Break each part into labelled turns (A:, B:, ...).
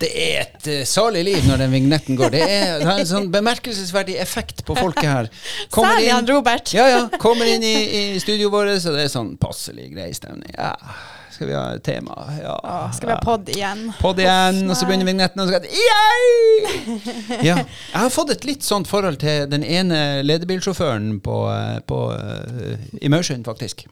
A: Det er et eh, salig liv når den vignetten går. Det, er, det har en sånn bemerkelsesverdig effekt på folket her.
B: Særlig han Robert.
A: Ja, ja. Kommer inn i, i studioet vårt, og det er sånn passelig grei stemning. Ja. Skal vi ha et tema? Ja.
B: Å, skal vi ha pod igjen?
A: Podd igjen, og så begynner vignetten, og så skal jeg Ja. Jeg har fått et litt sånt forhold til den ene ledebilsjåføren på, eh, på eh, Immersion, faktisk.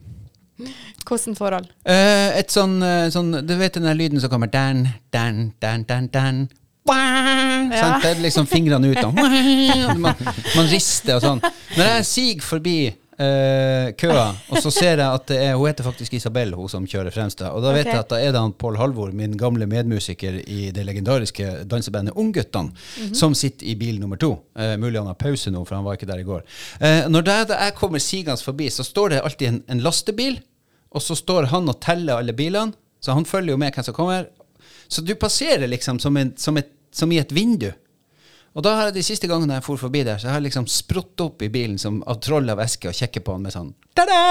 B: Hvordan forhold?
A: Eh, et sånn, eh, sånn Du vet den der lyden som kommer dan, dan, dan, dan, dan. Bang!
B: Ja.
A: Sant? Det er liksom fingrene ut. Og, man, man rister og sånn. Når jeg siger forbi eh, køa, og så ser jeg at det er, hun heter faktisk Isabel, hun som kjører fremst. da. Og da vet
B: Ok.
A: jeg at da er det han Pål Halvor, min gamle medmusiker i det legendariske dansebandet Ungguttene,
B: Mhm.
A: som sitter i bil nummer to. Eh, mulig han har pause nå, for han var ikke der i går. Eh, når det, da jeg kommer sigende forbi, så står det alltid en, en lastebil, og så står han og teller alle bilene, så han følger jo med hvem som kommer. Så du passerer liksom som, en, som, et, som i et vindu. Og da har jeg de siste gangene jeg for forbi der, så har jeg liksom sprått opp i bilen som av troll av eske og kjekker på han med sånn «Tada!»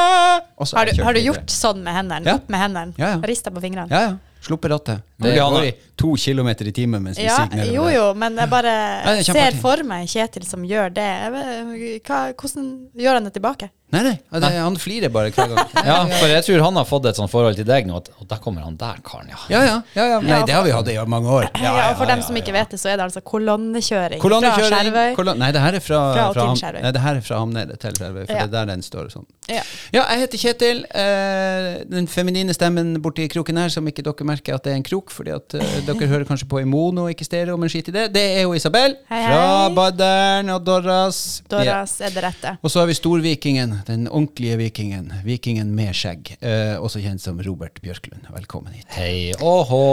A: Og så
B: Har
A: jeg
B: du,
A: kjørt
B: har du
A: videre.
B: gjort sånn med hendene?
A: Ja.
B: Opp med hendene?
A: Ja, ja.
B: Rista på fingrene?
A: Ja, ja. Sluppe rattet. Det
C: Mulig han
A: går
C: er-
A: i to kilometer i timen mens vi
B: Ja,
A: siger nedover.
B: jo jo, men jeg bare
A: Ja, det er kjempeartig.
B: ser for meg Kjetil som gjør det. Jeg vet- Hva, hvordan gjør han det tilbake?
A: Nei, nei. ja, Det, han flirer bare hver gang.
C: Ja, for jeg tror han har fått et sånt forhold til deg nå, at og der kommer han der karen, ja.
A: Ja, ja. ja, ja. Nei,
B: Ja,
A: det har vi hatt i mange år.
B: Ja, og for dem som ikke vet det, så er det altså kolonnekjøring fra
A: Kolonnekjøring
B: Skjervøy.
A: kolon- Nei, det her er fra,
B: Fra og til
A: Ham-
B: Skjervøy.
A: Nei, det her er fra Hamnede til Skjervøy, for
B: Ja.
A: det er der den står. og Sånn.
B: Ja.
A: Ja, jeg heter Kjetil. Eh, den feminine stemmen borti kroken her, som ikke dere merker at det er en krok, fordi at eh, dere hører kanskje på i mono, ikke stereo, men skit i det. Det er jo Isabel
B: Hei,
A: fra
B: hei.
A: Badderen og Dorras. Ja.
B: Doras er det rette.
A: Og så har vi storvikingen, den ordentlige vikingen. Vikingen med skjegg. Eh, også kjent som Robert Bjørklund. Velkommen hit.
C: Hei og hå.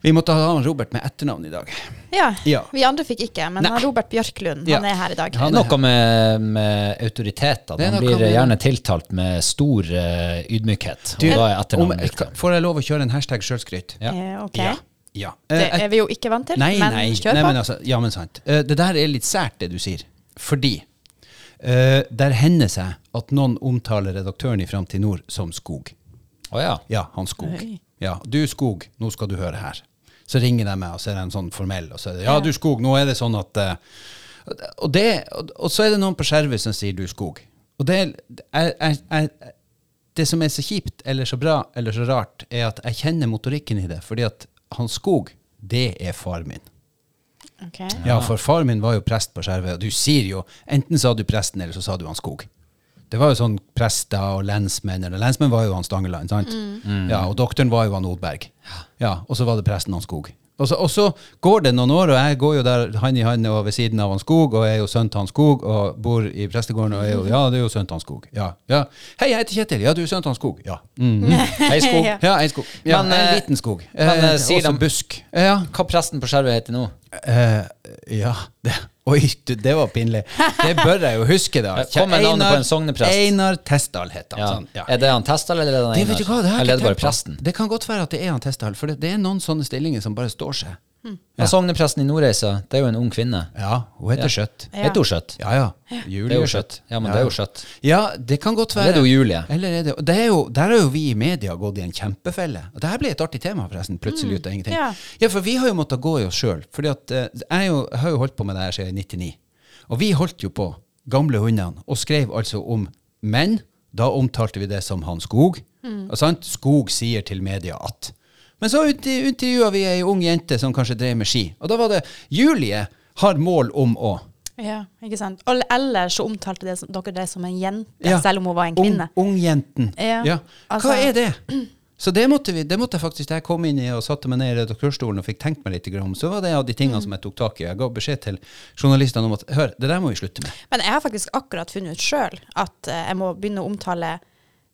A: Vi måtte ha han Robert med etternavn i dag.
B: Ja,
A: Ja.
B: Vi andre fikk ikke, men
A: Nei.
B: han Robert Bjørklund
A: Ja.
B: han er her i dag.
A: Han er-
C: Noe med, med autoriteter.
A: Det er
C: Man
A: noe
C: blir
A: med-
C: gjerne tiltalt med stor eh, ydmykhet. Og
A: Du,
C: da er
A: om,
C: etternavnet viktig.
A: får jeg lov å kjøre en hashtag sjølskryt?
C: Ja.
B: Eh, ok.
A: Ja. ja.
B: Det
A: Eh,
B: er vi jo ikke vant til,
A: Nei,
B: men
A: nei,
B: kjør
A: nei,
B: på.
A: men altså, ja, men sant. Eh, det der er litt sært, det du sier. Fordi eh, der hender seg at noen omtaler redaktøren i Framtid Nord som Skog.
C: Å ja.
A: Ja, han Skog.
B: Oi.
A: Ja, du Skog, nå skal du høre her. Så ringer de meg, og så er de sånn formell, og så er det ja, du Skog, nå er det sånn at eh, og, det, og, og så er det noen på skjervet som sier du Skog. Og det er, er, er, er det som er så kjipt, eller så bra, eller så rart, er at jeg kjenner motorikken i det, fordi at han Skog, det er far min.
B: Ok.
A: Ja, for far min var jo prest på Skjervøy, og du sier jo Enten sa du presten, eller så sa du han Skog. Det var jo sånn prester og lensmenn eller Lensmenn var jo han Stangeland, sant?
C: Mm.
A: Ja, og doktoren var jo han Odberg. Ja, og så var det presten han Skog. Og så, og så går det noen år, og jeg går jo der hand i hand og ved siden av han Skog, og er jo sønn til han Skog, og bor i prestegården, og er jo Ja, det er jo sønn til han Skog. Ja. ja. Hei, jeg heter Kjetil. Ja, du er sønn til han Skog. Ja. Mm.
C: Hei, Skog.
B: Ja.
A: Ja, en skog. Ja,
C: Men,
A: en
C: eh,
A: liten skog.
C: men, eh, sier
A: også
C: de-
A: busk. Ja.
C: Hva presten på Skjervøy heter nå?
A: Eh, ja det, Oi, du, det var pinlig. Det bør jeg jo huske, da.
C: Ja, kom med navnet på en sogneprest.
A: Einar Testdal het han.
C: Ja.
A: Sånn, ja.
C: Er det han Testal, eller er det han
A: Det, vet du hva, det, har jeg
C: eller er
A: ikke
C: det
A: tenkt
C: bare
A: på.
C: presten?
A: det kan godt være at det er han Testdal, for det, det er noen sånne stillinger som bare står seg.
C: Ja. Sognepresten i Nordreisa, det er jo en ung kvinne.
A: Ja, hun heter Skjøtt.
B: Ja.
C: Heter hun Skjøtt?
A: Ja, ja.
C: Det er
A: Julie
C: jo Skjøtt. Ja, men det er jo Skjøtt.
A: Ja, det kan godt være.
C: Eller er det jo Julie?
A: Eller er det, og det er jo, der har jo vi i media gått i en kjempefelle. Og det her ble et artig tema, forresten. Plutselig ut av ingenting.
B: ja.
A: for vi har jo måttet gå i oss sjøl. For eh, jeg jo, har jo holdt på med det her siden 99. Og vi holdt jo på, gamle hundene, og skrev altså om menn. Da omtalte vi det som han Skog. Og sant? Skog sier til media at. Men så intervjua vi ei ung jente som kanskje drev med ski. Og da var det Julie har mål om å
B: Ja, ikke sant. Og ellers så omtalte det som, dere det som en jente,
A: Ja.
B: selv om hun var en kvinne.
A: Ung, ungjenten.
B: Ja.
A: Ja.
B: Altså-
A: Hva er det? Så det måtte, vi, det måtte jeg faktisk da jeg kom inn i og satte meg ned i redaktørstolen og fikk tenkt meg litt om, så var det av de
B: Mm.
A: tingene som jeg tok tak i. Jeg ga beskjed til journalistene om at hør, det der må vi slutte med.
B: Men jeg har faktisk akkurat funnet ut sjøl at eh, jeg må begynne å omtale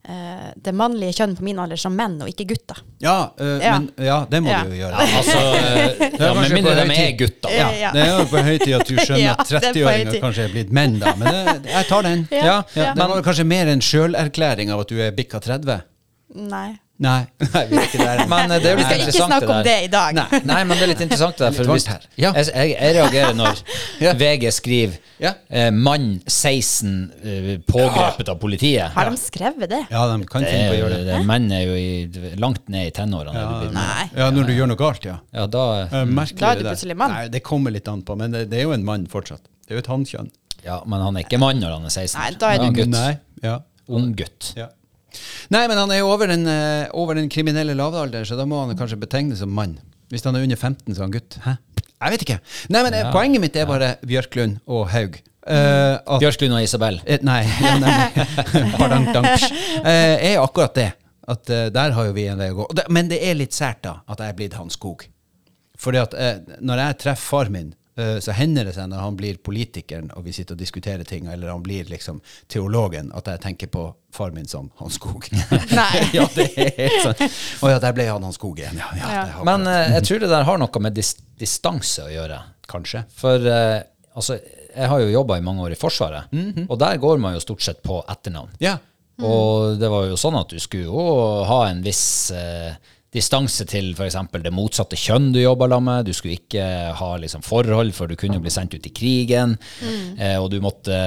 B: eh, det mannlige kjønn på min alder som menn, og ikke gutter.
A: Ja, øh,
B: Ja.
A: Men, ja det må
B: Ja.
A: du jo
C: Ja,
A: gjøre.
C: altså, ja,
A: kanskje
C: med mindre
A: på høy
C: de er
A: tid.
C: gutter.
B: Ja.
A: Det er jo på høy tid at du skjønner
B: Ja,
A: at
B: det er på høy
A: 30-åringer
B: tid.
A: kanskje er blitt menn, da. Men det, jeg tar den.
B: Ja,
A: Ja,
B: ja.
A: Det var vel kanskje mer en sjølerklæring av at du er bikka 30.
B: Nei.
A: Nei, nei, vi er ikke der ennå.
C: Men eh, det er
B: Vi
C: jo litt
B: skal ikke
C: interessant
B: snakke om
C: der.
B: det i dag.
A: Nei.
C: Nei, men det er litt interessant det der.
A: Litt
C: For hvis,
A: varmt her. Ja.
C: jeg, jeg, jeg reagerer når
A: Ja.
C: VG skriver
A: Ja.
C: eh, 'mann 16 eh, pågrepet av politiet'.
B: Har de skrevet det?
A: Ja, de kan
C: Det
A: finne på å
C: er,
A: gjøre det.
C: det, menn er jo i, langt ned i tenårene. når du blir-
B: Nei.
A: Ja, når du gjør noe galt, ja.
C: Ja, da,
A: Eh, Merkelig
B: Da er
A: det
B: du
A: der.
B: plutselig mann.
A: Nei, det kommer litt an på, men det, det er jo en mann fortsatt. Det er jo et hannkjønn.
C: ja, men han er ikke mann når han er 16.
B: Nei, da er
C: han
B: du-
C: gutt.
A: Nei, ja.
C: Ung gutt.
A: ja. Nei, men han er jo over den, eh, over den kriminelle lavalder, så da må han kanskje betegnes som mann. Hvis han er under 15, så er han gutt. Hæ? Jeg vet ikke. Nei, men eh, poenget mitt er bare Bjørklund og Haug.
B: Mm.
A: Eh, at
C: Bjørklund og Isabel.
A: Eh, Nei. ja, nei. Bardank-dank. Eh, er akkurat det. At eh, der har jo vi en vei å gå. Og det- Men det er litt sært, da, at jeg er blitt han Skog. Fordi at eh, når jeg treffer far min, eh, så hender det seg når han blir politikeren, og vi sitter og diskuterer ting, eller han blir liksom teologen, at jeg tenker på far min som han Skog.
B: Nei.
A: ja, det er helt sant. Å ja, der ble han han Skog igjen. Ja, ja,
B: Ja.
A: det har-
C: Men eh, jeg tror det der har noe med dis distanse å gjøre.
A: kanskje.
C: For eh, altså, jeg har jo jobba i mange år i Forsvaret,
A: Mhm.
C: og der går man jo stort sett på etternavn.
A: Ja.
C: Og det var jo sånn at du skulle jo ha en viss eh, distanse til f.eks. det motsatte kjønn du jobba sammen med. Du skulle ikke ha liksom, forhold, for du kunne jo bli sendt ut i krigen.
A: Mm.
C: Eh, og du måtte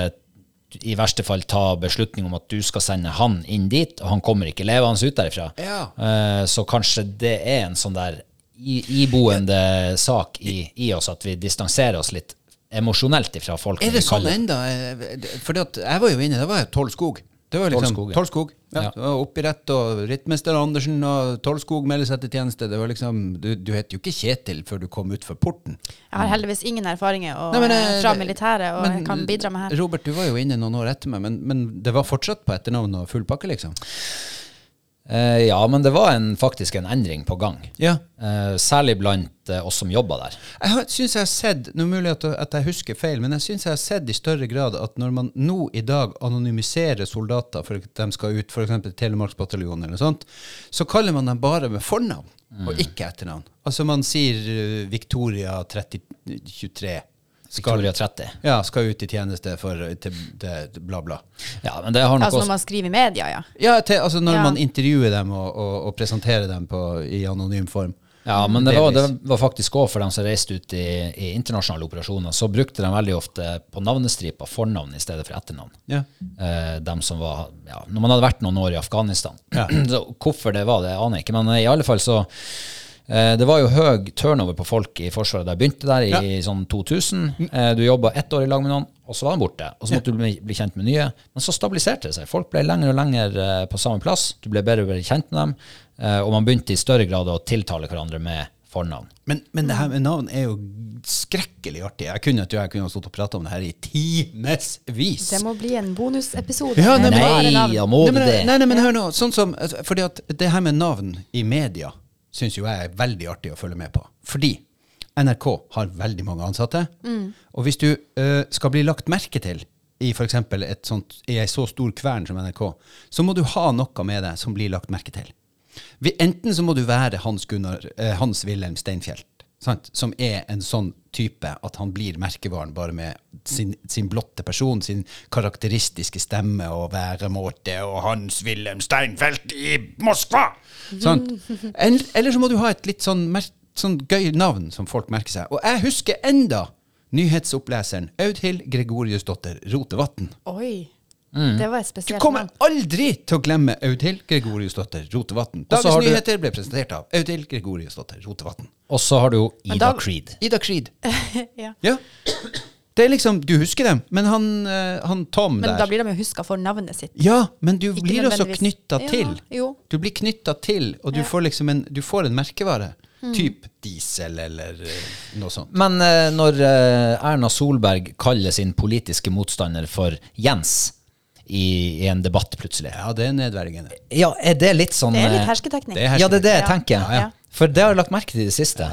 C: i verste fall ta beslutning om at du skal sende han inn dit, og han kommer ikke levende ut derifra.
A: Ja.
C: Eh, så kanskje det er en sånn der i, iboende sak i, i oss at vi distanserer oss litt emosjonelt ifra folk.
A: Er
C: når vi
A: det sånn
C: kaller-
A: ennå? Fordi at jeg var jo inne, det var jo Tollskog. Det var jo liksom
C: Tollskog, ja.
A: Tollskog. Ja.
C: Ja.
A: det var Oppirett og rittmester Andersen og Tollskog melder seg til tjeneste. Det var liksom, du, du het jo ikke Kjetil før du kom utfor porten.
B: Jeg har heldigvis ingen erfaringer å-
A: Nei, men, eh,
B: fra militæret og
A: men-
B: jeg kan bidra med her.
A: Robert, du var jo inne noen år etter meg, men, men det var fortsatt på etternavn og full pakke, liksom?
C: Eh, ja, men det var en, faktisk en endring på gang.
A: Ja.
C: Eh, særlig blant eh, oss som jobber der.
A: Jeg har- syns jeg har sett, nå er det mulig at, at jeg husker feil, men jeg syns jeg har sett i større grad at når man nå i dag anonymiserer soldater for at de skal ut f.eks. Telemarksbataljonen eller noe sånt, så kaller man dem bare med fornavn og ikke etternavn. Altså man sier eh, Victoria 3023 skal,
C: Victoria 30.
A: ja, skal ut i tjeneste for eh, til, til bla, bla.
C: Ja, men det har nok
B: Altså når
C: også
B: man skriver i media, ja.
A: Ja, til, altså når
B: Ja.
A: man intervjuer dem og, og, og presenterer dem på, i anonym form.
C: ja, men det var,
A: Delvis.
C: det var faktisk òg for dem som reiste ut i, i internasjonale operasjoner, så brukte de veldig ofte på navnestripa fornavn i stedet for etternavn.
A: Ja.
C: Eh, dem som var, ja, når man hadde vært noen år i Afghanistan. Så hvorfor det var, det aner jeg ikke. Men eh, i alle fall så eh, Det var jo høy turnover på folk i Forsvaret da jeg begynte der, i sånn 2000. Eh, du jobba ett år i lag med noen, og så var han borte. Og så måtte du bli, bli kjent med nye. Men så stabiliserte det seg. Folk ble lenger og lenger eh, på samme plass. Du ble bedre og bedre kjent med dem. Eh, og man begynte i større grad å tiltale hverandre med fornavn.
A: Men, men det her med navn er jo skrekkelig artig. Jeg kunne jo jeg kunne ha stått og prata om det her i timevis.
B: Det må bli en bonusepisode.
A: Ja, nei,
B: med
A: men-
B: bare
C: Nei,
B: navn.
C: da må
A: Nei,
C: du
A: men,
C: det.
A: nei, nei, men hør nå. Sånn som, altså, fordi at det her med navn i media syns jo jeg er veldig artig å følge med på. Fordi NRK har veldig mange ansatte. Og hvis du eh, skal bli lagt merke til i for eksempel et sånt, i ei så stor kvern som NRK, så må du ha noe med deg som blir lagt merke til. Vi, enten så må du være Hans, Gunnar, eh, Hans Wilhelm Steinfeld, sant? som er en sånn type at han blir merkevaren bare med sin, sin blotte person, sin karakteristiske stemme og væremåte og Hans Wilhelm Steinfeld i Moskva! Sant? En, eller så må du ha et litt sånn, mer, sånn gøy navn som folk merker seg. Og jeg husker enda nyhetsoppleseren Audhild Gregoriusdotter Rotevatn.
B: Oi. Det var
A: Mm.
B: et
A: Du
B: spesielt
A: kommer
B: navn.
A: aldri til å glemme Audhild Gregoriusdotter Rotevatn.
C: Og så
A: Dagens
C: har du-
A: nyheter ble presentert av Audhild Gregoriusdotter Rotevatn.
C: Og så har du jo Ida
B: da-
C: Creed.
A: Ida Creed.
B: Ja.
A: Ja. Det er liksom, Du husker dem, men han, eh, han Tom
B: Men
A: der
B: da blir de jo huska for navnet sitt.
A: Ja, men du
B: Ikke
A: blir også
B: nødvendigvis.
A: knytta
B: Ja,
A: til.
B: jo.
A: Du blir knytta til, og du får liksom en, du får en merkevare.
B: Hmm.
A: Typ diesel eller eh, noe sånt.
C: Men eh, når eh, Erna Solberg kaller sin politiske motstander for Jens i, i en debatt plutselig
A: Ja, det er nedverdigende.
C: Ja, er det litt sånn
B: Det er litt
C: eh,
B: hersketeknikk.
A: Det er her-
C: Ja, det er det jeg
B: Ja.
C: tenker.
B: Ja, ja.
C: For det har jeg lagt merke til i det siste.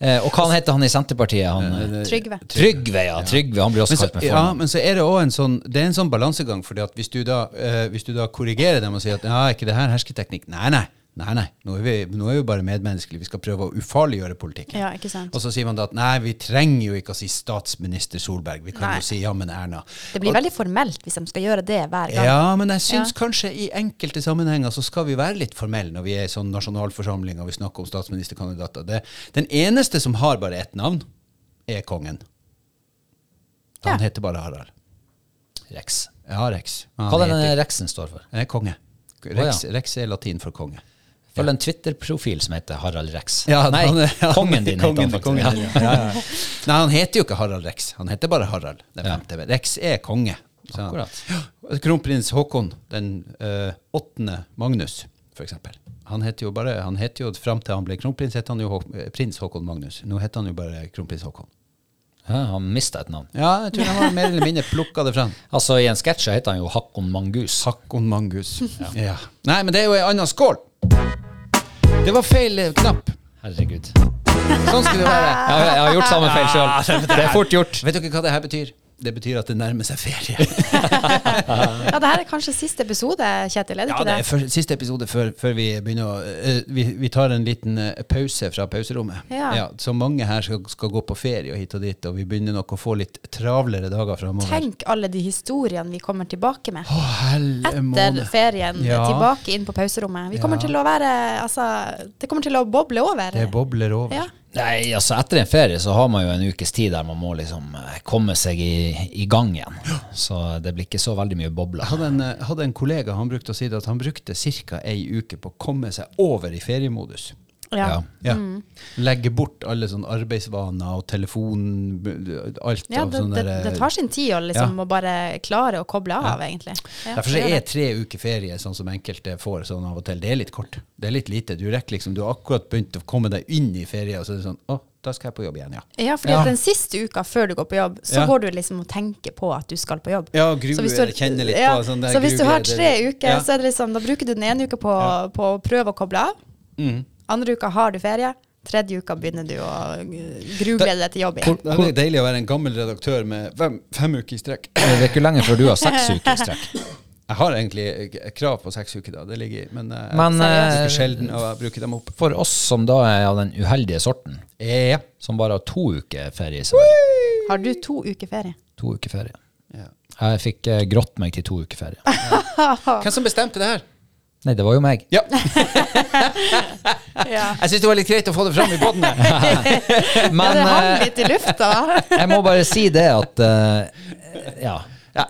C: Eh, og hva han heter han i Senterpartiet? Han, eh,
B: Trygve.
C: Trygve, ja. Trygve, Han blir også
A: Men så,
C: kalt med
A: ja,
C: fornavn.
A: men så er det også en sånn Det er en sånn balansegang, fordi at hvis du da eh, Hvis du da korrigerer dem og sier at ja, er ikke det her hersketeknikk? Nei, nei. Nei, nei, nå er vi, nå er vi bare medmenneskelige. Vi skal prøve å ufarliggjøre politikken.
B: Ja, ikke sant.
A: Og så sier man da at nei, vi trenger jo ikke å si statsminister Solberg. Vi kan
B: Nei.
A: jo si ja, men Erna.
B: Det blir veldig formelt hvis de skal gjøre det hver gang.
A: Ja, men jeg syns
B: Ja.
A: kanskje i enkelte sammenhenger så skal vi være litt formelle når vi er i sånn nasjonalforsamling og vi snakker om statsministerkandidater. Det, den eneste som har bare ett navn, er kongen. Han
B: Ja.
A: heter bare Harald.
C: Rex.
A: Ja, Rex. Han
C: Hva er
A: heter-
C: den Rexen står for?
A: Eh, konge.
C: ja.
A: Rex, Rex er latin for konge.
C: Følg en Twitter-profil som heter Harald Rex.
A: Ja,
C: Nei,
A: han er- han er-
C: kongen din heter han faktisk.
A: kongen,
C: ja.
A: kongen, ja. Ja, ja. Nei, han heter jo ikke Harald Rex. Han heter bare Harald den
C: Ja.
A: femte. Rex er konge. Så han-
C: Akkurat.
A: Ja, Kronprins Haakon den eh, åttende Magnus, for eksempel. Han heter jo bare, han heter jo fram til han ble kronprins, het han jo Haak- eh, prins Haakon Magnus. Nå heter han jo bare kronprins Haakon.
C: Ja, han mista et navn.
A: Ja, jeg tror han var mer eller mindre plukka det fram.
C: Altså, I en sketsj så heter han jo Hakkon Mangus.
A: Haakon Mangus. Ja. Nei, men det er jo ei anna skål! Det var feil eh, knapp.
C: Herregud.
A: Sånn skulle det være.
C: Jeg, jeg har gjort samme feil sjøl. Det er fort gjort.
A: Vet dere hva det her betyr? Det betyr at det nærmer seg ferie.
B: Ja, det her er kanskje siste episode, Kjetil. Er det
A: ja,
B: ikke
A: det
B: det?
A: er før, siste episode før, før vi begynner å eh, vi, vi tar en liten eh, pause fra pauserommet.
B: Ja.
A: så mange her skal, skal gå på ferie og hit og dit, og vi begynner nok å få litt travlere dager framover.
B: Tenk alle de historiene vi kommer tilbake med.
A: Å, helle
B: Etter
A: måne.
B: ferien,
A: Ja.
B: tilbake inn på pauserommet. Vi kommer
A: Ja.
B: til å være Altså, det kommer til å boble over.
A: Det bobler over.
B: Ja.
C: Nei, altså Etter en ferie så har man jo en ukes tid der man må liksom eh, komme seg i, i gang igjen. Så det blir ikke så veldig mye
A: Jeg
C: bobler.
A: hadde en, eh, hadde en kollega han brukte å si det at han brukte ca. ei uke på å komme seg over i feriemodus.
B: Ja.
C: Ja.
A: Ja.
B: Mm.
A: Legge bort alle sånne arbeidsvaner og telefon Alt
B: Ja,
A: av sånne
B: det, det,
A: sånn der-
B: det tar sin tid å liksom
A: Ja.
B: å bare klare å koble av, egentlig. Ja,
A: eh, Derfor så
B: det gjør
A: er
B: det.
A: tre uker ferie sånn som enkelte får sånn av og til. Det er litt kort. Det er litt lite. Du rekker liksom, du har akkurat begynt å komme deg inn i ferie, og så er det sånn Å, da skal jeg på jobb igjen, ja.
B: Ja, fordi
A: Ja.
B: at den siste uka før du går på jobb, så
A: Ja.
B: går du liksom og tenker på at du skal på jobb.
A: Ja, grue,
B: Så hvis du-
A: kjenne litt
B: ja,
A: på sånn der
B: Så hvis du
A: grue,
B: har
A: det-
B: tre uker,
A: Ja.
B: så er det liksom, da bruker du den ene uka på, på å prøve å koble av.
A: Mm.
B: Andre uka har du ferie. Tredje uka begynner du å gruglede deg til jobb igjen.
A: Det er deilig å være en gammel redaktør med fem, fem uker i strekk.
C: Det er ikke lenge før du har seks uker i strekk.
A: Jeg har egentlig eh, krav på seks uker, da. Det ligger i. Men, eh,
C: Men,
A: jeg bruker
C: eh,
A: sjelden å bruke dem opp.
C: For oss som da er av den uheldige sorten,
A: Ja.
C: som bare har to uker ferie i sommer.
B: Har du to uker ferie?
C: To uker ferie.
A: Ja.
C: Jeg fikk eh, grått meg til to uker ferie.
A: Hvem som bestemte det her?
C: Nei, det var jo meg.
A: Ja.
B: Ja.
A: Jeg syns det var litt greit å få det fram i båten her.
B: ja,
C: Men
B: det hang
C: eh,
B: litt i lufta.
C: jeg må bare si det at eh, ja.